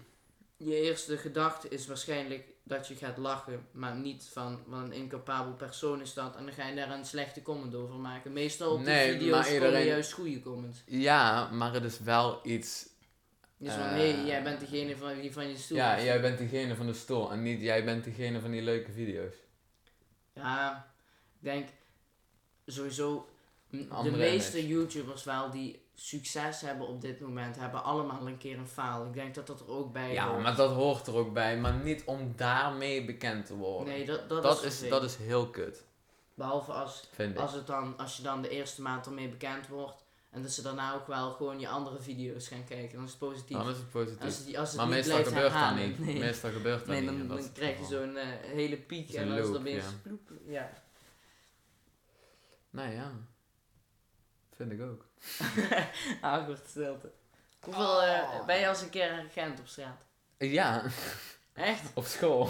Speaker 3: je eerste gedachte is waarschijnlijk dat je gaat lachen, maar niet van wat een incapabel persoon is dat en dan ga je daar een slechte comment over maken. Meestal op
Speaker 2: Nee,
Speaker 3: die video's
Speaker 2: maar
Speaker 3: komen
Speaker 2: iedereen-
Speaker 3: juist goede comments.
Speaker 2: Ja, maar het is wel iets.
Speaker 3: Dus van,
Speaker 2: Eh.
Speaker 3: hé, hey, jij bent degene van, die van je stoel.
Speaker 2: ja,
Speaker 3: is.
Speaker 2: jij bent degene van de stoel en niet jij bent degene van die leuke video's.
Speaker 3: Ja, ik denk sowieso. m- De
Speaker 2: Andere
Speaker 3: meeste
Speaker 2: image.
Speaker 3: YouTubers wel die succes hebben op dit moment, hebben allemaal een keer een faal. Ik denk dat dat er ook bij
Speaker 2: Ja,
Speaker 3: hoort.
Speaker 2: maar dat hoort er ook bij, maar niet om daarmee bekend te worden.
Speaker 3: Nee, dat, dat,
Speaker 2: dat,
Speaker 3: is,
Speaker 2: is,
Speaker 3: het
Speaker 2: dat
Speaker 3: ding.
Speaker 2: is heel kut,
Speaker 3: Behalve als,
Speaker 2: vind ik.
Speaker 3: als, het dan, als je dan de eerste maand ermee bekend wordt en dat ze daarna ook wel gewoon je andere video's gaan kijken, dan is het positief.
Speaker 2: Dan is het positief.
Speaker 3: Als het, die- als het
Speaker 2: maar
Speaker 3: niet
Speaker 2: meestal
Speaker 3: blijft
Speaker 2: gebeurt dat
Speaker 3: herhalen,
Speaker 2: niet.
Speaker 3: Nee,
Speaker 2: Meestal gebeurt dat
Speaker 3: Nee,
Speaker 2: niet.
Speaker 3: dan,
Speaker 2: en dat is
Speaker 3: dan
Speaker 2: het
Speaker 3: krijg je
Speaker 2: verhaal.
Speaker 3: zo'n eh, hele piek
Speaker 2: Zo'n
Speaker 3: en dan is
Speaker 2: loop,
Speaker 3: er weer
Speaker 2: ja.
Speaker 3: sploep. Ja.
Speaker 2: Nou ja, vind ik ook.
Speaker 3: <laughs> Awkward Ah, stilte. Hoeveel, eh, ben je als een keer een agent op straat?
Speaker 2: Ja, <laughs>
Speaker 3: Echt?
Speaker 2: Op school.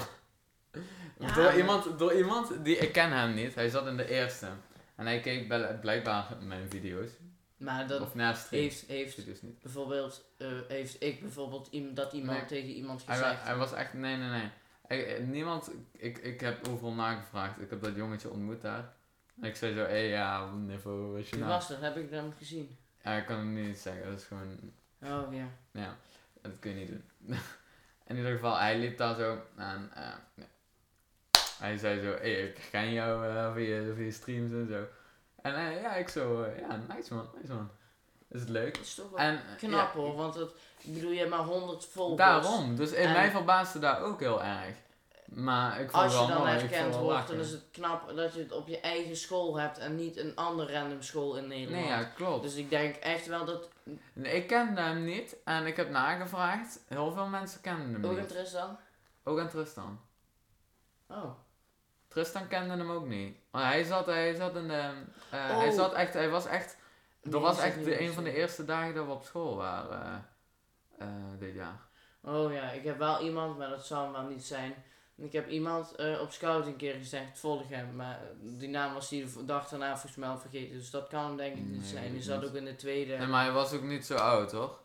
Speaker 3: Ja,
Speaker 2: door,
Speaker 3: maar-
Speaker 2: iemand, door iemand die... Ik ken hem niet. Hij zat in de eerste. En hij keek bel- blijkbaar mijn video's.
Speaker 3: Maar dat
Speaker 2: of naast streams.
Speaker 3: heeft, heeft
Speaker 2: Heeft dus niet.
Speaker 3: bijvoorbeeld, eh, heeft ik bijvoorbeeld iemand, dat iemand
Speaker 2: Nee.
Speaker 3: tegen iemand
Speaker 2: Hij, wa-
Speaker 3: gezegd.
Speaker 2: hij was echt, nee, nee, nee. Hij- eh, niemand, ik, ik heb overal nagevraagd. Ik heb dat jongetje ontmoet daar. En ik zei zo, hé, hey, ja, wat niveau was je
Speaker 3: Wie
Speaker 2: nou?
Speaker 3: was dat? Heb ik hem gezien?
Speaker 2: Ja, ik kan het nu niet zeggen, dat is gewoon
Speaker 3: Oh ja.
Speaker 2: Ja, dat kun je niet doen. <laughs> In ieder geval, hij liep daar zo en eh, ja. hij zei zo, hey, ik ken jou eh, via, via streams en zo. En eh, ja, ik zo, eh, ja, nice man, nice man. Is het leuk?
Speaker 3: Dat is toch wel
Speaker 2: En, eh,
Speaker 3: knap
Speaker 2: ja,
Speaker 3: hoor, want dat ik bedoel je hebt maar 100 volgers.
Speaker 2: Daarom, dus in
Speaker 3: En-
Speaker 2: mij verbaasde daar ook heel erg. Maar ik vond
Speaker 3: Als je
Speaker 2: het wel
Speaker 3: dan
Speaker 2: mooi, ik vond
Speaker 3: herkend
Speaker 2: het wel
Speaker 3: wordt, dan
Speaker 2: lachen.
Speaker 3: is het knap dat je het op je eigen school hebt en niet een andere random school in Nederland.
Speaker 2: Nee, ja, klopt.
Speaker 3: Dus ik denk echt wel dat.
Speaker 2: Nee, Ik kende hem niet en ik heb nagevraagd. Heel veel mensen kenden hem
Speaker 3: Ook
Speaker 2: niet.
Speaker 3: interesse dan?
Speaker 2: Ook aan Tristan.
Speaker 3: Oh.
Speaker 2: Tristan kende hem ook niet. Want hij zat, hij zat in de. eh, Hij
Speaker 3: Oh.
Speaker 2: zat echt, hij was echt. Dat
Speaker 3: Nee,
Speaker 2: was
Speaker 3: is dat
Speaker 2: echt
Speaker 3: niet
Speaker 2: de,
Speaker 3: meer
Speaker 2: een van de
Speaker 3: zo?
Speaker 2: eerste dagen dat we op school waren. eh, eh, dit jaar.
Speaker 3: Oh ja, ik heb wel iemand, maar dat zal hem wel niet zijn. Ik heb iemand eh, op scout een keer gezegd, volg hem. Maar eh, die naam was die de dag daarna volgens mij al vergeten. Dus dat kan hem denk ik niet
Speaker 2: Nee,
Speaker 3: zijn.
Speaker 2: weet
Speaker 3: Die
Speaker 2: ik
Speaker 3: zat
Speaker 2: niet.
Speaker 3: ook in de tweede.
Speaker 2: Nee, maar hij was ook niet zo oud, toch?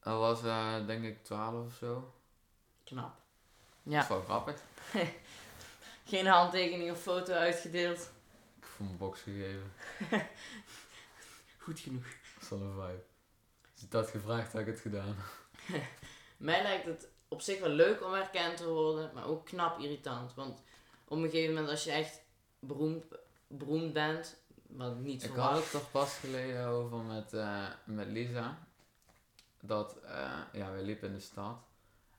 Speaker 2: Hij was eh, denk ik 12 of zo.
Speaker 3: Knap.
Speaker 2: Dat
Speaker 3: Ja.
Speaker 2: is wel grappig.
Speaker 3: Geen handtekening of foto uitgedeeld.
Speaker 2: Ik voel een box gegeven.
Speaker 3: Goed genoeg.
Speaker 2: Dat is wel een vibe. Als je dat gevraagd had ik het gedaan.
Speaker 3: Mij lijkt het op zich wel leuk om herkend te worden, maar ook knap irritant. Want op een gegeven moment, als je echt beroemd, beroemd bent, wat ik niet
Speaker 2: Ik
Speaker 3: verwacht.
Speaker 2: had het toch pas geleden over met, eh, met Lisa. Dat, eh, ja, we liepen in de stad.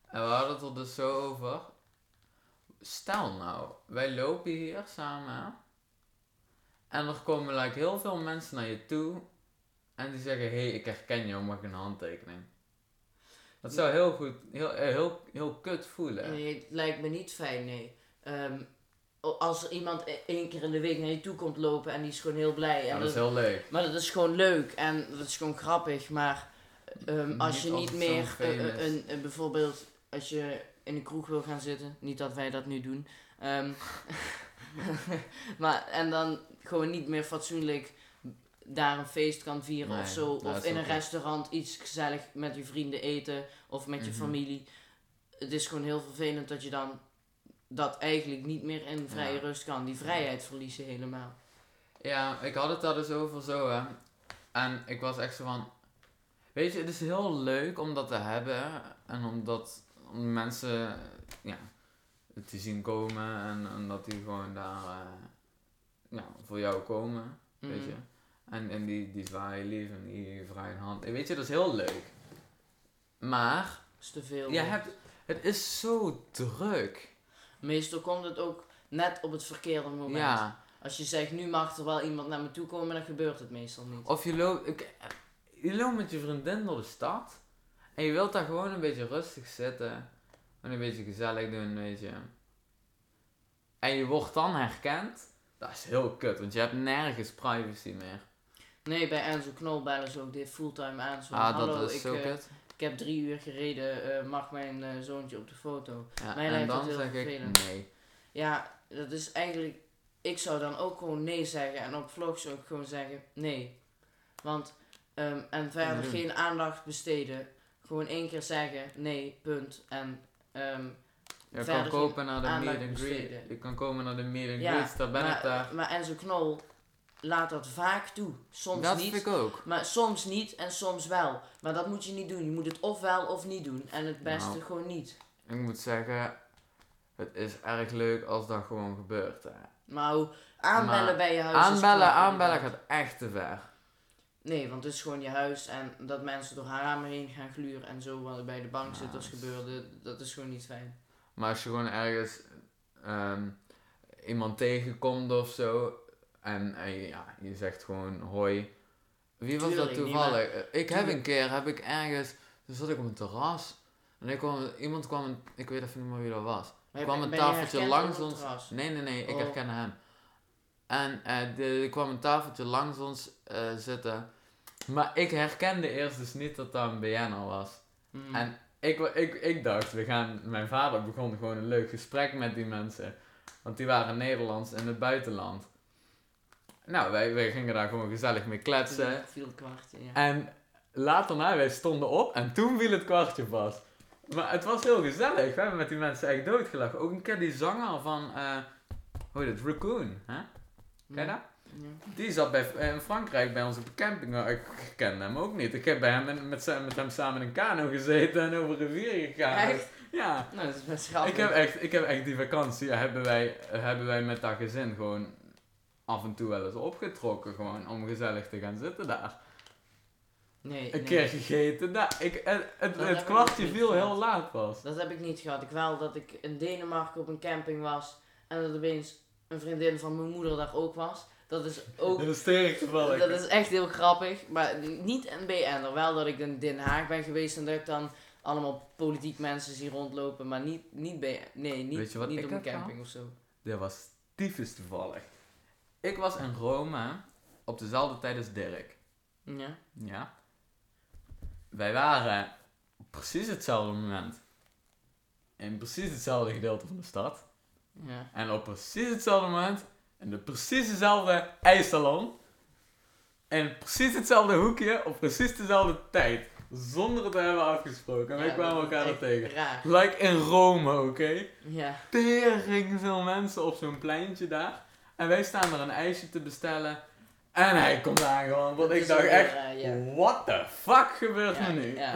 Speaker 2: En we hadden het er dus zo over. Stel nou, wij lopen hier samen. En er komen like, heel veel mensen naar je toe. En die zeggen, hé, hey, ik herken jou, mag ik een handtekening? Dat zou heel goed, heel, eh, heel, heel kut voelen.
Speaker 3: Nee, het lijkt me niet fijn, nee. Ehm, o- als er iemand e- één keer in de week naar je toe komt lopen en die is gewoon heel blij. En
Speaker 2: Ja, dat is
Speaker 3: dat-
Speaker 2: heel leuk.
Speaker 3: Maar dat is gewoon leuk en dat is gewoon grappig. Maar ehm,
Speaker 2: Niet
Speaker 3: als je niet
Speaker 2: altijd
Speaker 3: meer
Speaker 2: zo'n
Speaker 3: eh, eh,
Speaker 2: famous.
Speaker 3: een, een- bijvoorbeeld als je in de kroeg wil gaan zitten, niet dat wij dat nu doen. ehm, <laughs> maar en dan gewoon niet meer fatsoenlijk daar een feest kan vieren
Speaker 2: Nee,
Speaker 3: of zo.
Speaker 2: dat
Speaker 3: Of
Speaker 2: is
Speaker 3: in een
Speaker 2: ook goed.
Speaker 3: restaurant iets gezellig met je vrienden eten of met je
Speaker 2: Mhm.
Speaker 3: familie. Het is gewoon heel vervelend dat je dan dat eigenlijk niet meer in vrije
Speaker 2: Ja.
Speaker 3: rust kan. Die vrijheid verliezen helemaal.
Speaker 2: Ja, ik had het daar dus over zo, hè. En ik was echt zo van... Weet je, het is heel leuk om dat te hebben. En om, dat, om mensen ja, te zien komen. En, en dat die gewoon daar eh, ja, voor jou komen. Weet
Speaker 3: Mhm.
Speaker 2: je. En, en die, die zwaaien lief en die vrije hand. En Weet je, dat is heel leuk. Maar
Speaker 3: is te veel.
Speaker 2: je hebt, het is zo druk.
Speaker 3: Meestal komt het ook net op het verkeerde moment.
Speaker 2: Ja.
Speaker 3: Als je zegt, nu mag er wel iemand naar me toe komen, dan gebeurt het meestal niet.
Speaker 2: Of je loopt, ik- eh, je loopt met je vriendin door de stad. En je wilt daar gewoon een beetje rustig zitten. En een beetje gezellig doen, weet je. En je wordt dan herkend. Dat is heel kut, want je hebt nergens privacy meer.
Speaker 3: Nee, bij Enzo Knol bellen ze ook dit fulltime aan. Zo,
Speaker 2: ah,
Speaker 3: hallo,
Speaker 2: dat is
Speaker 3: ik,
Speaker 2: zo
Speaker 3: eh,
Speaker 2: kut.
Speaker 3: ik heb drie uur gereden, eh, mag mijn eh, zoontje op de foto?
Speaker 2: Ja,
Speaker 3: mij
Speaker 2: en
Speaker 3: lijkt dat
Speaker 2: dan
Speaker 3: heel
Speaker 2: zeg ik
Speaker 3: vervelend.
Speaker 2: nee.
Speaker 3: Ja, dat is eigenlijk... Ik zou dan ook gewoon nee zeggen en op vlogs ook gewoon zeggen nee. Want, ehm, en verder
Speaker 2: doen.
Speaker 3: geen aandacht besteden. Gewoon één keer zeggen nee, punt. En ehm,
Speaker 2: Je kan
Speaker 3: Verder
Speaker 2: kopen naar de
Speaker 3: aandacht
Speaker 2: meet and greet.
Speaker 3: besteden.
Speaker 2: Je kan komen naar de meet and
Speaker 3: Ja,
Speaker 2: greet, daar ben eh,
Speaker 3: maar,
Speaker 2: ik daar.
Speaker 3: maar Enzo Knol laat dat vaak toe. Soms
Speaker 2: dat
Speaker 3: niet.
Speaker 2: vind ik ook.
Speaker 3: Maar soms niet en soms wel. Maar dat moet je niet doen. Je moet het of wel of niet doen. En het beste
Speaker 2: Nou.
Speaker 3: gewoon niet.
Speaker 2: Ik moet zeggen, het is erg leuk als dat gewoon gebeurt. Hè.
Speaker 3: Maar hoe- aanbellen
Speaker 2: Maar
Speaker 3: bij je huis. is
Speaker 2: Aanbellen,
Speaker 3: knap,
Speaker 2: aanbellen
Speaker 3: inderdaad.
Speaker 2: gaat echt te ver.
Speaker 3: Nee, want het is gewoon je huis. En dat mensen door haar ramen heen gaan gluren en zo wat er bij de
Speaker 2: Ja,
Speaker 3: bankzitters
Speaker 2: dat is-
Speaker 3: gebeurde. Dat is gewoon niet fijn.
Speaker 2: Maar als je gewoon ergens ehm, iemand tegenkomt of zo. En, en je- ja, je zegt gewoon hoi. Wie was dat
Speaker 3: Tuurlijk,
Speaker 2: toevallig? Ik heb een
Speaker 3: Tuurlijk.
Speaker 2: keer, heb ik ergens, toen zat ik op een terras. En ik kwam, iemand kwam, een- ik weet even niet meer wie dat was.
Speaker 3: Maar
Speaker 2: kwam
Speaker 3: ben-
Speaker 2: een
Speaker 3: ben je
Speaker 2: tafeltje
Speaker 3: herkend op
Speaker 2: langs
Speaker 3: het
Speaker 2: ons.
Speaker 3: terras?
Speaker 2: Nee, nee, nee, ik
Speaker 3: Oh.
Speaker 2: herkende hem. En eh, de- er kwam een tafeltje langs ons eh, zitten. Maar ik herkende eerst dus niet dat dat een BN'er was.
Speaker 3: Mm.
Speaker 2: En- Ik, wa- ik, ik dacht, we gaan, mijn vader begon gewoon een leuk gesprek met die mensen. Want die waren Nederlands in het buitenland. Nou, wij, wij gingen daar gewoon gezellig mee kletsen.
Speaker 3: Toen viel het kwart in, ja.
Speaker 2: En later na, wij stonden op en toen viel het kwartje pas. Maar het was heel gezellig. We hebben met die mensen echt doodgelachen. Ook een keer die zanger van, eh hoe heet het, Raccoon. Hè? Ken je dat?
Speaker 3: Ja.
Speaker 2: Die zat bij, eh, in Frankrijk bij onze camping. Nou, Ik kende hem ook niet. Ik heb bij hem in- met, zijn- met hem samen in een kano gezeten en over rivieren gegaan.
Speaker 3: Echt?
Speaker 2: Ja.
Speaker 3: Nou, dat is best grappig.
Speaker 2: Ik heb, echt, ik heb echt die vakantie, eh, hebben wij, hebben wij met dat gezin gewoon af en toe wel eens opgetrokken. Gewoon om gezellig te gaan zitten daar.
Speaker 3: Nee,
Speaker 2: Een
Speaker 3: nee.
Speaker 2: keer gegeten. daar. ik, eh, het het,
Speaker 3: Dat
Speaker 2: het
Speaker 3: heb ik
Speaker 2: kwartje
Speaker 3: niet
Speaker 2: viel heel
Speaker 3: gehad.
Speaker 2: laat pas.
Speaker 3: Dat heb ik niet gehad. Ik wel dat ik in Denemarken op een camping was en dat opeens een vriendin van mijn moeder daar ook was. Dat is ook.
Speaker 2: <laughs> Dat is sterk toevallig.
Speaker 3: Oh. Dat is echt heel grappig. Maar niet een BN'er. Wel dat ik in Den Haag ben geweest en dat ik dan allemaal politiek mensen zie rondlopen. Maar niet, niet BN. Nee, niet,
Speaker 2: Weet je wat
Speaker 3: niet
Speaker 2: ik
Speaker 3: op een
Speaker 2: heb gehad?
Speaker 3: camping of zo.
Speaker 2: Dit was tyfus toevallig. Ik was in Rome op dezelfde tijd als Dirk.
Speaker 3: Ja.
Speaker 2: Ja. Wij waren op precies hetzelfde moment. In precies hetzelfde gedeelte van de stad.
Speaker 3: Ja.
Speaker 2: En op precies hetzelfde moment, in de precies dezelfde ijssalon, in precies hetzelfde hoekje, op precies dezelfde tijd. Zonder het te hebben afgesproken. En wij
Speaker 3: Ja,
Speaker 2: kwamen
Speaker 3: dat
Speaker 2: elkaar
Speaker 3: is
Speaker 2: er
Speaker 3: echt
Speaker 2: tegen.
Speaker 3: Raar.
Speaker 2: Like in Rome, oké?
Speaker 3: Ja.
Speaker 2: Tering veel mensen op zo'n pleintje daar. En wij staan er een ijsje te bestellen. En hij komt aangewandeld.
Speaker 3: Dat
Speaker 2: Want ik
Speaker 3: is
Speaker 2: dacht
Speaker 3: ook
Speaker 2: echt,
Speaker 3: raar, ja.
Speaker 2: what the fuck gebeurt
Speaker 3: Ja,
Speaker 2: er nu?
Speaker 3: ja.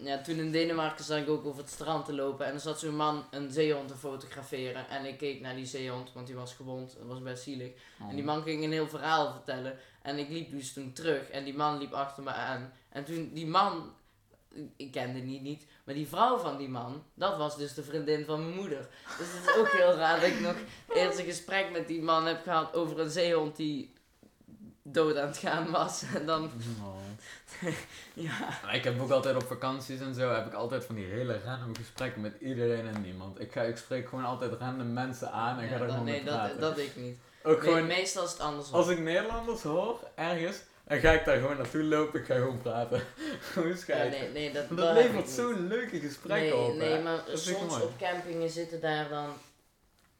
Speaker 3: Ja, toen in Denemarken zat ik ook over het strand te lopen en er zat zo'n man een zeehond te fotograferen. En ik keek naar die zeehond, want die was gewond, dat was best zielig. En die man ging een heel verhaal vertellen. En ik liep dus toen terug. En die man liep achter me aan. En toen die man, ik kende die niet, maar die vrouw van die man, dat was dus de vriendin van mijn moeder. Dus het is ook heel raar dat ik nog eerst een gesprek met die man heb gehad over een zeehond die dood aan het gaan was. En dan,
Speaker 2: Oh.
Speaker 3: <laughs> ja.
Speaker 2: Maar Ik heb ook altijd op vakanties en zo, heb ik altijd van die hele random gesprekken met iedereen en niemand. Ik, ga, ik spreek gewoon altijd random mensen aan en
Speaker 3: Ja,
Speaker 2: ga er
Speaker 3: dat,
Speaker 2: gewoon mee
Speaker 3: nee, dat,
Speaker 2: praten.
Speaker 3: dat ik niet.
Speaker 2: dus. ook
Speaker 3: Nee,
Speaker 2: gewoon,
Speaker 3: meestal is het andersom.
Speaker 2: als ik Nederlanders hoor, ergens, dan ga ik daar gewoon naartoe lopen, ik ga gewoon praten. <laughs> gewoon
Speaker 3: Ja,
Speaker 2: schijt.
Speaker 3: nee, nee, dat,
Speaker 2: Dat,
Speaker 3: dat heb ik
Speaker 2: levert
Speaker 3: niet.
Speaker 2: zo'n leuke gesprekken
Speaker 3: nee,
Speaker 2: op. hè.
Speaker 3: Nee, maar
Speaker 2: vind ik
Speaker 3: soms
Speaker 2: mooi.
Speaker 3: op campingen zitten daar dan...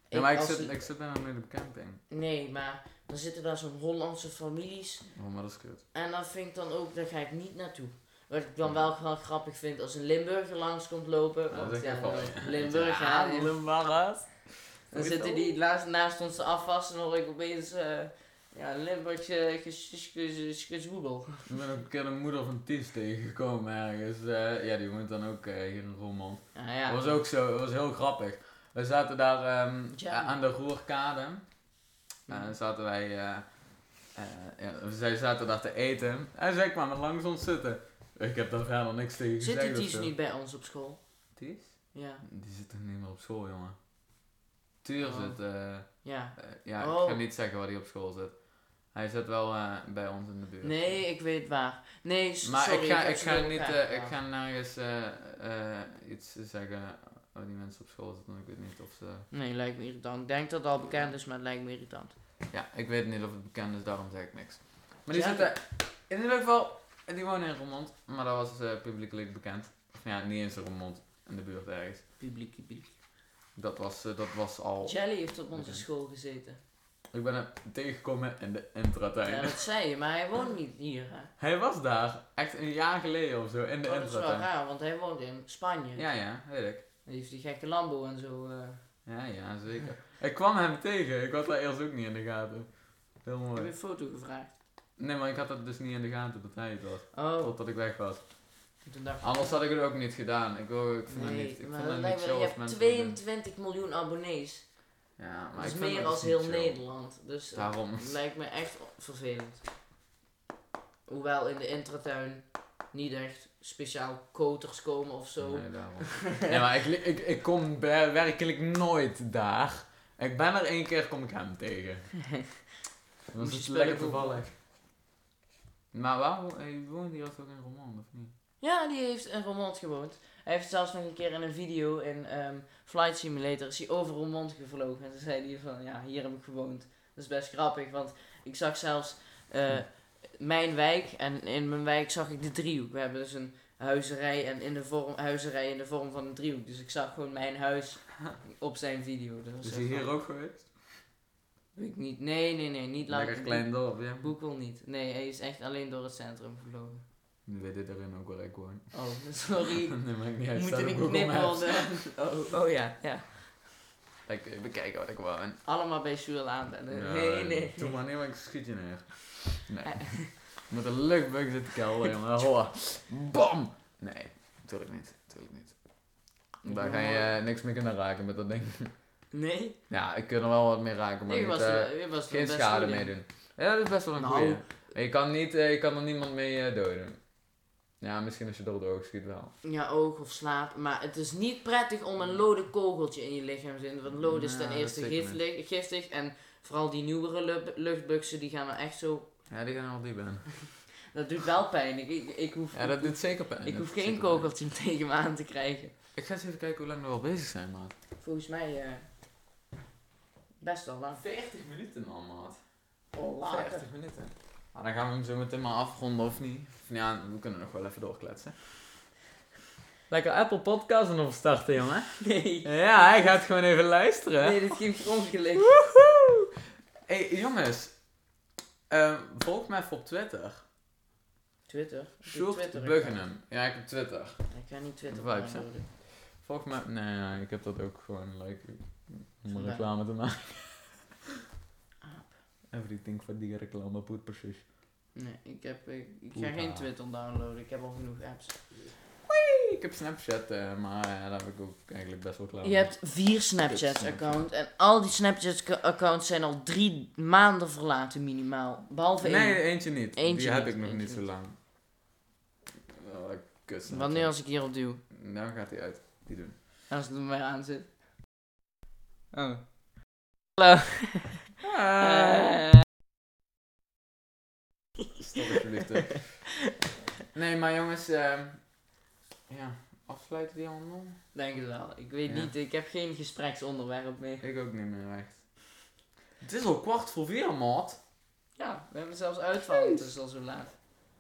Speaker 2: ja, maar ik
Speaker 3: als
Speaker 2: zit,
Speaker 3: het-
Speaker 2: ik zit bijna met op camping.
Speaker 3: Nee, maar dan zitten daar zo'n Hollandse families.
Speaker 2: Oh, maar dat is kut.
Speaker 3: En dat vind ik dan ook, daar ga ik niet naartoe. Wat ik dan wel gewoon grappig vind als een Limburger langs komt lopen.
Speaker 2: Nou,
Speaker 3: Want
Speaker 2: dat is
Speaker 3: ja,
Speaker 2: echt wel-
Speaker 3: dan- Limburger. hè, die-
Speaker 2: Limburgers.
Speaker 3: dan zitten die naast, naast ons te afwassen en hoor ik opeens eh ja, een Limburgse ges- ges- ges- geswoebel.
Speaker 2: Ik ben ook een keer de moeder van Ties tegengekomen ergens. eh, ja, die woont dan ook eh, hier in Roermond.
Speaker 3: Ja, ja.
Speaker 2: Dat was ook zo, dat was heel grappig. We zaten daar ehm,
Speaker 3: Ja.
Speaker 2: a- aan de Roerkade. Eh,
Speaker 3: Mhm.
Speaker 2: zaten wij, eh, eh, ja, zij zaten daar te eten. En zij kwamen langs ons zitten. Ik heb daar verder niks tegen
Speaker 3: Zit die
Speaker 2: gezegd.
Speaker 3: Ties
Speaker 2: of zo.
Speaker 3: niet bij ons op school?
Speaker 2: Ties?
Speaker 3: Ja.
Speaker 2: Die zit toch niet meer op school, jongen? Tuur
Speaker 3: Oh.
Speaker 2: zit, eh, eh,
Speaker 3: Ja.
Speaker 2: ja,
Speaker 3: Oh.
Speaker 2: ik ga niet zeggen waar hij op school zit. Hij zit wel eh, bij ons in de buurt.
Speaker 3: Nee, ik weet waar. Nee, s-
Speaker 2: Maar
Speaker 3: sorry,
Speaker 2: ik ga,
Speaker 3: heb Ah.
Speaker 2: ik
Speaker 3: ze
Speaker 2: ga
Speaker 3: door
Speaker 2: niet,
Speaker 3: elkaar
Speaker 2: eh, ik
Speaker 3: gehaald.
Speaker 2: ga nergens eh, eh, iets zeggen waar die mensen op school zitten. want Ik weet niet of ze...
Speaker 3: Nee, lijkt me irritant. Ik denk dat het al bekend is, maar het lijkt me irritant.
Speaker 2: Ja, ik weet niet of het bekend is, daarom zeg ik niks. Maar die
Speaker 3: Ja.
Speaker 2: zitten, in ieder geval, die wonen in Roermond, maar dat was eh, publiekelijk bekend. Of ja, niet eens in Roermond, in de buurt ergens.
Speaker 3: Publiek, publiek.
Speaker 2: Dat was, eh, dat was al...
Speaker 3: Jelly heeft op onze
Speaker 2: Oké.
Speaker 3: school gezeten.
Speaker 2: Ik ben hem tegengekomen in de
Speaker 3: Ja,
Speaker 2: intratuin.
Speaker 3: dat zei je, maar hij woont niet hier. Hè?
Speaker 2: Hij was daar, echt een jaar geleden of zo, in de
Speaker 3: Oh, dat is wel
Speaker 2: intratuin.
Speaker 3: raar, want hij woont in Spanje.
Speaker 2: Ja, ja, weet ik.
Speaker 3: Hij heeft die gekke Lambo en zo. eh.
Speaker 2: Ja, ja, zeker. Ik kwam hem tegen, ik had dat eerst ook niet in de gaten. Heel
Speaker 3: Ik heb
Speaker 2: mooi.
Speaker 3: een foto gevraagd.
Speaker 2: Nee, maar ik had dat dus niet in de gaten dat hij het was.
Speaker 3: Oh,
Speaker 2: Totdat ik weg was.
Speaker 3: toen dacht ik.
Speaker 2: Anders had ik het ook niet gedaan. Ik, wil, ik vind het
Speaker 3: nee,
Speaker 2: niet, ik
Speaker 3: maar
Speaker 2: vond
Speaker 3: dat
Speaker 2: het
Speaker 3: lijkt
Speaker 2: niet
Speaker 3: me,
Speaker 2: chill
Speaker 3: je
Speaker 2: als
Speaker 3: hebt
Speaker 2: mensen dat doen.
Speaker 3: 22 miljoen abonnees.
Speaker 2: Ja, maar
Speaker 3: dat is
Speaker 2: ik vind
Speaker 3: meer
Speaker 2: dat
Speaker 3: als
Speaker 2: niet
Speaker 3: heel
Speaker 2: chill.
Speaker 3: Nederland. Dus het
Speaker 2: Daarom.
Speaker 3: <laughs> lijkt me echt o- vervelend. Hoewel in de intratuin niet echt speciaal koters komen of zo.
Speaker 2: Nee, daarom. nee, maar ik, li- ik, ik kom be- werkelijk nooit daar. Ik ben er één keer, kom ik hem tegen. Dat
Speaker 3: Moest
Speaker 2: was
Speaker 3: je
Speaker 2: het
Speaker 3: spullen
Speaker 2: lekker toevallig. Maar waar wo- eh, woonde hij als ook in Roman, of niet?
Speaker 3: Ja, die heeft in Roermond gewoond. Hij heeft zelfs nog een keer in een video in ehm, Flight Simulator is hij over Roermond gevlogen. En toen zei hij van, ja, hier heb ik gewoond. Dat is best grappig, want ik zag zelfs eh, mijn wijk en in mijn wijk zag ik de driehoek. We hebben dus een huizerij en in de vorm, huizerij in de vorm van een driehoek. Dus ik zag gewoon mijn huis op zijn video. Dat was
Speaker 2: Is
Speaker 3: echt
Speaker 2: hij hier
Speaker 3: grappig.
Speaker 2: ook geweest?
Speaker 3: Weet ik niet. Nee, nee, nee, niet laten.
Speaker 2: Lekker klein dorp, ja.
Speaker 3: Boekel niet. Nee, hij is echt alleen door het centrum gevlogen.
Speaker 2: Nu weet dit erin ook waar ik woon.
Speaker 3: Oh, <laughs> sorry.
Speaker 2: <laughs> nee, maakt niet uit.
Speaker 3: Moet
Speaker 2: staat
Speaker 3: ik
Speaker 2: op Google
Speaker 3: knippen?
Speaker 2: Maps. <laughs>
Speaker 3: want, eh, Oh, oh ja, ja.
Speaker 2: Dan kun je bekijken wat ik woon.
Speaker 3: Allemaal bij Sjuel aanbellen.
Speaker 2: Ja,
Speaker 3: nee, nee. Eh.
Speaker 2: Doe maar niet, want ik schiet je neer. Nee. <laughs> Met een luchtbug zit ik
Speaker 3: <laughs>
Speaker 2: kelder, jongen. Holla. Bam! Nee, natuurlijk niet. Natuurlijk niet. Daar ga je eh, niks meer kunnen raken met dat ding.
Speaker 3: Nee?
Speaker 2: Ja, ik kan er wel wat mee raken, maar
Speaker 3: Ik
Speaker 2: niet,
Speaker 3: was,
Speaker 2: eh,
Speaker 3: er- ik was er
Speaker 2: geen
Speaker 3: best
Speaker 2: schade
Speaker 3: goed in.
Speaker 2: mee doen. Ja, dat is best wel een
Speaker 3: Nou.
Speaker 2: goeie. Maar Je kan, niet, eh, je kan er niemand mee eh, doden. Ja, misschien als je door het oog schiet wel.
Speaker 3: Ja, oog of slaap. Maar het is niet prettig om een lode kogeltje in je lichaam te zitten. Want lood is ten
Speaker 2: Ja,
Speaker 3: eerste
Speaker 2: dat zeker
Speaker 3: giftig, giftig. En vooral die nieuwere lu- luchtbuksen, die gaan dan echt zo...
Speaker 2: Ja, die gaan wel diep in.
Speaker 3: Dat doet wel pijn. Ik, ik, ik hoef,
Speaker 2: Ja, dat doet zeker pijn.
Speaker 3: ik
Speaker 2: Dat
Speaker 3: hoef
Speaker 2: doet
Speaker 3: geen
Speaker 2: zeker pijn.
Speaker 3: kogeltje <laughs> tegen me aan te krijgen.
Speaker 2: Ik ga eens even kijken hoe lang we al bezig zijn, maat.
Speaker 3: Volgens mij eh, best wel lang.
Speaker 2: 40 Ah, minuten al, maat.
Speaker 3: Oh, later.
Speaker 2: 50 minuten. Nou, dan gaan we hem zo meteen maar afronden of niet. Of ja, we kunnen nog wel even doorkletsen. Lekker Apple Podcasts nog starten, jongen.
Speaker 3: Nee.
Speaker 2: Ja, hij gaat gewoon even luisteren.
Speaker 3: Nee, dit ging per ongeluk.
Speaker 2: Woehoe! hey, jongens. Ehm, volg mij even op Twitter.
Speaker 3: Twitter. Ik doe
Speaker 2: Sjoerd
Speaker 3: Twitter, ik
Speaker 2: Buggenum. Ja, ik heb Twitter.
Speaker 3: kan- Ik ga niet Twitter
Speaker 2: Vibes, hè?
Speaker 3: downloaden.
Speaker 2: Volg mij... Nee, ja, ik heb dat ook gewoon, like, om een
Speaker 3: Vandaar.
Speaker 2: reclame te maken.
Speaker 3: <laughs> Aap.
Speaker 2: Everything voor die reclame, poet precies.
Speaker 3: Nee, ik, heb, eh, ik, ik ga
Speaker 2: Poeha.
Speaker 3: geen Twitter downloaden. Ik heb al genoeg apps.
Speaker 2: Ik heb Snapchat, eh, maar ja, daar heb ik ook eigenlijk best wel klaar
Speaker 3: Je
Speaker 2: mee.
Speaker 3: hebt vier Snapchat-accounts en al die Snapchat-accounts zijn al drie maanden verlaten minimaal. Behalve
Speaker 2: Nee,
Speaker 3: één.
Speaker 2: eentje niet.
Speaker 3: Eentje
Speaker 2: die heb
Speaker 3: niet,
Speaker 2: ik nog
Speaker 3: eentje
Speaker 2: niet zo
Speaker 3: niet.
Speaker 2: lang. Oh, ik kus.
Speaker 3: Want nu als ik hierop duw
Speaker 2: Dan gaat hij uit. Die doen.
Speaker 3: en als het er weer aan zit. Oh. Hallo. <laughs> Eh.
Speaker 2: Stop alsjeblieft. hè. nee, maar jongens. ehm, ja, afsluiten die allemaal?
Speaker 3: Denk het wel. Ik weet
Speaker 2: Ja.
Speaker 3: niet, ik heb geen gespreksonderwerp meer.
Speaker 2: Ik ook niet meer echt. Het is al kwart voor vier, maat.
Speaker 3: Ja, we hebben zelfs uitvallen, het is al zo laat.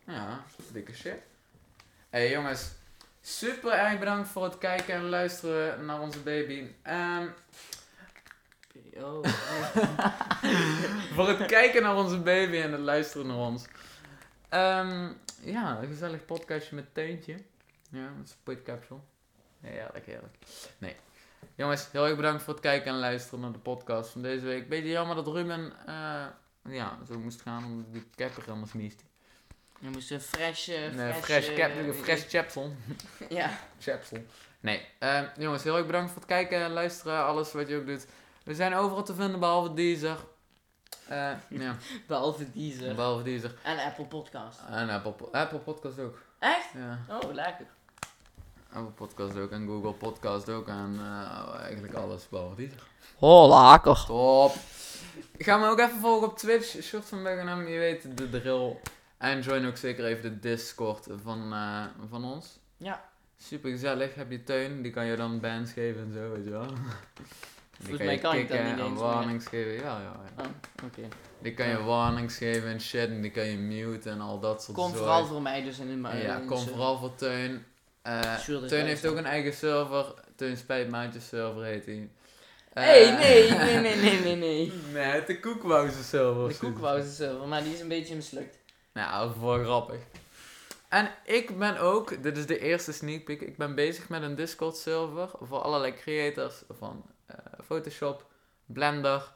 Speaker 2: Ja, dikke shit. hey, jongens. Super erg bedankt voor het kijken en luisteren naar onze baby. Ehm, <laughs>
Speaker 3: Oh.
Speaker 2: voor het kijken naar onze baby en het luisteren naar ons. Ehm, ja, een gezellig podcastje met Teuntje. Ja, met zijn podcapsule. Ja, heerlijk, heerlijk. Nee. Jongens, heel erg bedankt voor het kijken en luisteren naar de podcast van deze week. Beetje jammer dat Ruben eh, ja, zo moest gaan omdat die capper helemaal smiest.
Speaker 3: Je moest een fresh... eh,
Speaker 2: Een eh,
Speaker 3: eh,
Speaker 2: fresh cap,
Speaker 3: weet
Speaker 2: fresh chapsel.
Speaker 3: ik- Ja.
Speaker 2: Chapsel. Nee. eh, jongens, heel erg bedankt voor het kijken en luisteren. Alles wat je ook doet. We zijn overal te vinden, behalve Deezer. Eh, ja,
Speaker 3: Behalve Deezer.
Speaker 2: behalve Deezer.
Speaker 3: en Apple Podcast.
Speaker 2: En Apple, Apple Podcast ook.
Speaker 3: Echt?
Speaker 2: Ja,
Speaker 3: Oh, lekker.
Speaker 2: Apple Podcast ook en Google Podcast ook en eh, eigenlijk alles behalve die.
Speaker 3: Oh, lekker.
Speaker 2: Top! Ga me ook even volgen op Twitch, Short van Beckenham, je weet de drill. En join ook zeker even de Discord van, eh, van ons.
Speaker 3: Ja.
Speaker 2: Super gezellig, heb je tuin, die kan je dan bands geven en zo, weet je wel. Die
Speaker 3: Volgens mij kan ik dat
Speaker 2: kicken
Speaker 3: niet
Speaker 2: en
Speaker 3: eens meer.
Speaker 2: warnings geven, ja, ja, ja.
Speaker 3: Oh, oké.
Speaker 2: Die kan je warnings geven en shit, en die kan je mute en al dat soort
Speaker 3: Kom
Speaker 2: zooi.
Speaker 3: vooral voor mij dus in mijn
Speaker 2: Ja,
Speaker 3: in
Speaker 2: kom
Speaker 3: de-
Speaker 2: vooral voor Teun. Eh,
Speaker 3: Sjoerd is
Speaker 2: Teun heeft
Speaker 3: luisteren.
Speaker 2: ook een eigen server. Teun Spijtmaatjes server heet hij. Eh,
Speaker 3: hey,
Speaker 2: <laughs>
Speaker 3: nee, nee, nee, nee, nee, nee.
Speaker 2: Nee, het is de koekwauze server.
Speaker 3: De koekwous is zilver, maar die is een beetje mislukt.
Speaker 2: Nou, voor grappig. En ik ben ook, dit is de eerste sneak peek, ik ben bezig met een Discord server voor allerlei creators van eh, Photoshop, Blender,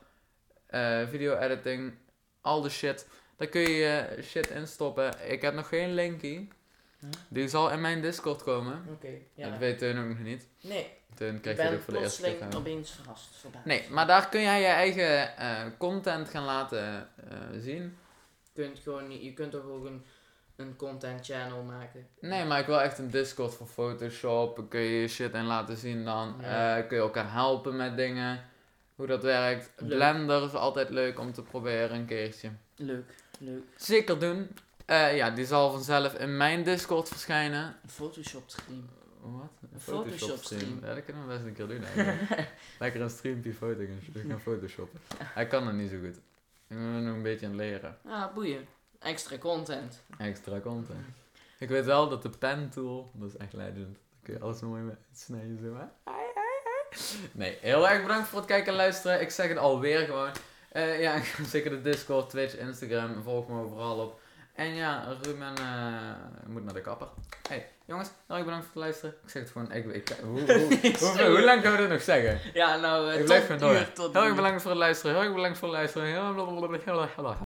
Speaker 2: eh, video editing, al de shit. Daar kun je je shit in stoppen. Ik heb nog geen linkie.
Speaker 3: Huh?
Speaker 2: Die zal in mijn Discord komen.
Speaker 3: Oké, Hm? ja.
Speaker 2: Dat weet Teun ook nog niet.
Speaker 3: Nee,
Speaker 2: Teun
Speaker 3: ik
Speaker 2: krijgt dit
Speaker 3: ben
Speaker 2: ook voor de eerste keer. te
Speaker 3: plotseling
Speaker 2: horen.
Speaker 3: opeens verrast. Verbaasd.
Speaker 2: Nee, maar daar kun jij je eigen eh, content gaan laten eh, zien.
Speaker 3: Je kunt, gewoon, niet- je kunt toch ook een, een content channel maken.
Speaker 2: Nee, maar ik wil echt een Discord voor Photoshop. Daar Kun je je shit in laten zien dan.
Speaker 3: Ja.
Speaker 2: Eh, kun je elkaar helpen met dingen. Hoe dat werkt.
Speaker 3: Leuk.
Speaker 2: Blender is altijd leuk om te proberen een keertje.
Speaker 3: Leuk, leuk.
Speaker 2: Zeker doen. Eh, ja, die zal vanzelf in mijn Discord verschijnen.
Speaker 3: Een Photoshop stream.
Speaker 2: Wat? Een
Speaker 3: Photoshop stream.
Speaker 2: Ja, dat kunnen we best een keer doen.
Speaker 3: <laughs>
Speaker 2: eigenlijk. Lekker een streampje foto gaan- gaan photoshoppen. Hij kan het niet zo goed. Ik moet hem nog een beetje aan leren.
Speaker 3: Ah, boeien. Extra content.
Speaker 2: Extra content. Ik weet wel dat de pen tool, dat is echt legend. Daar kun je alles mooi mee snijden zo. hè. Ai, ai, ai. Nee, heel erg bedankt voor het kijken en luisteren. Ik zeg het alweer gewoon. Eh, ja, <laughs> ik heb zeker de Discord, Twitch, Instagram. Volg me overal op. En ja, Ruben eh, moet naar de kapper. hey, jongens, heel erg bedankt voor het luisteren. Ik zeg het gewoon, ik, ik, hoe, hoe, hoe, hoe lang kunnen we dit nog zeggen?
Speaker 3: Ja, nou, eh,
Speaker 2: Ik
Speaker 3: tot
Speaker 2: blijf gewoon
Speaker 3: een
Speaker 2: door.
Speaker 3: uur, tot
Speaker 2: Heel
Speaker 3: een
Speaker 2: erg
Speaker 3: uur.
Speaker 2: bedankt voor het luisteren. Heel erg bedankt voor het luisteren. Heel erg blablabla.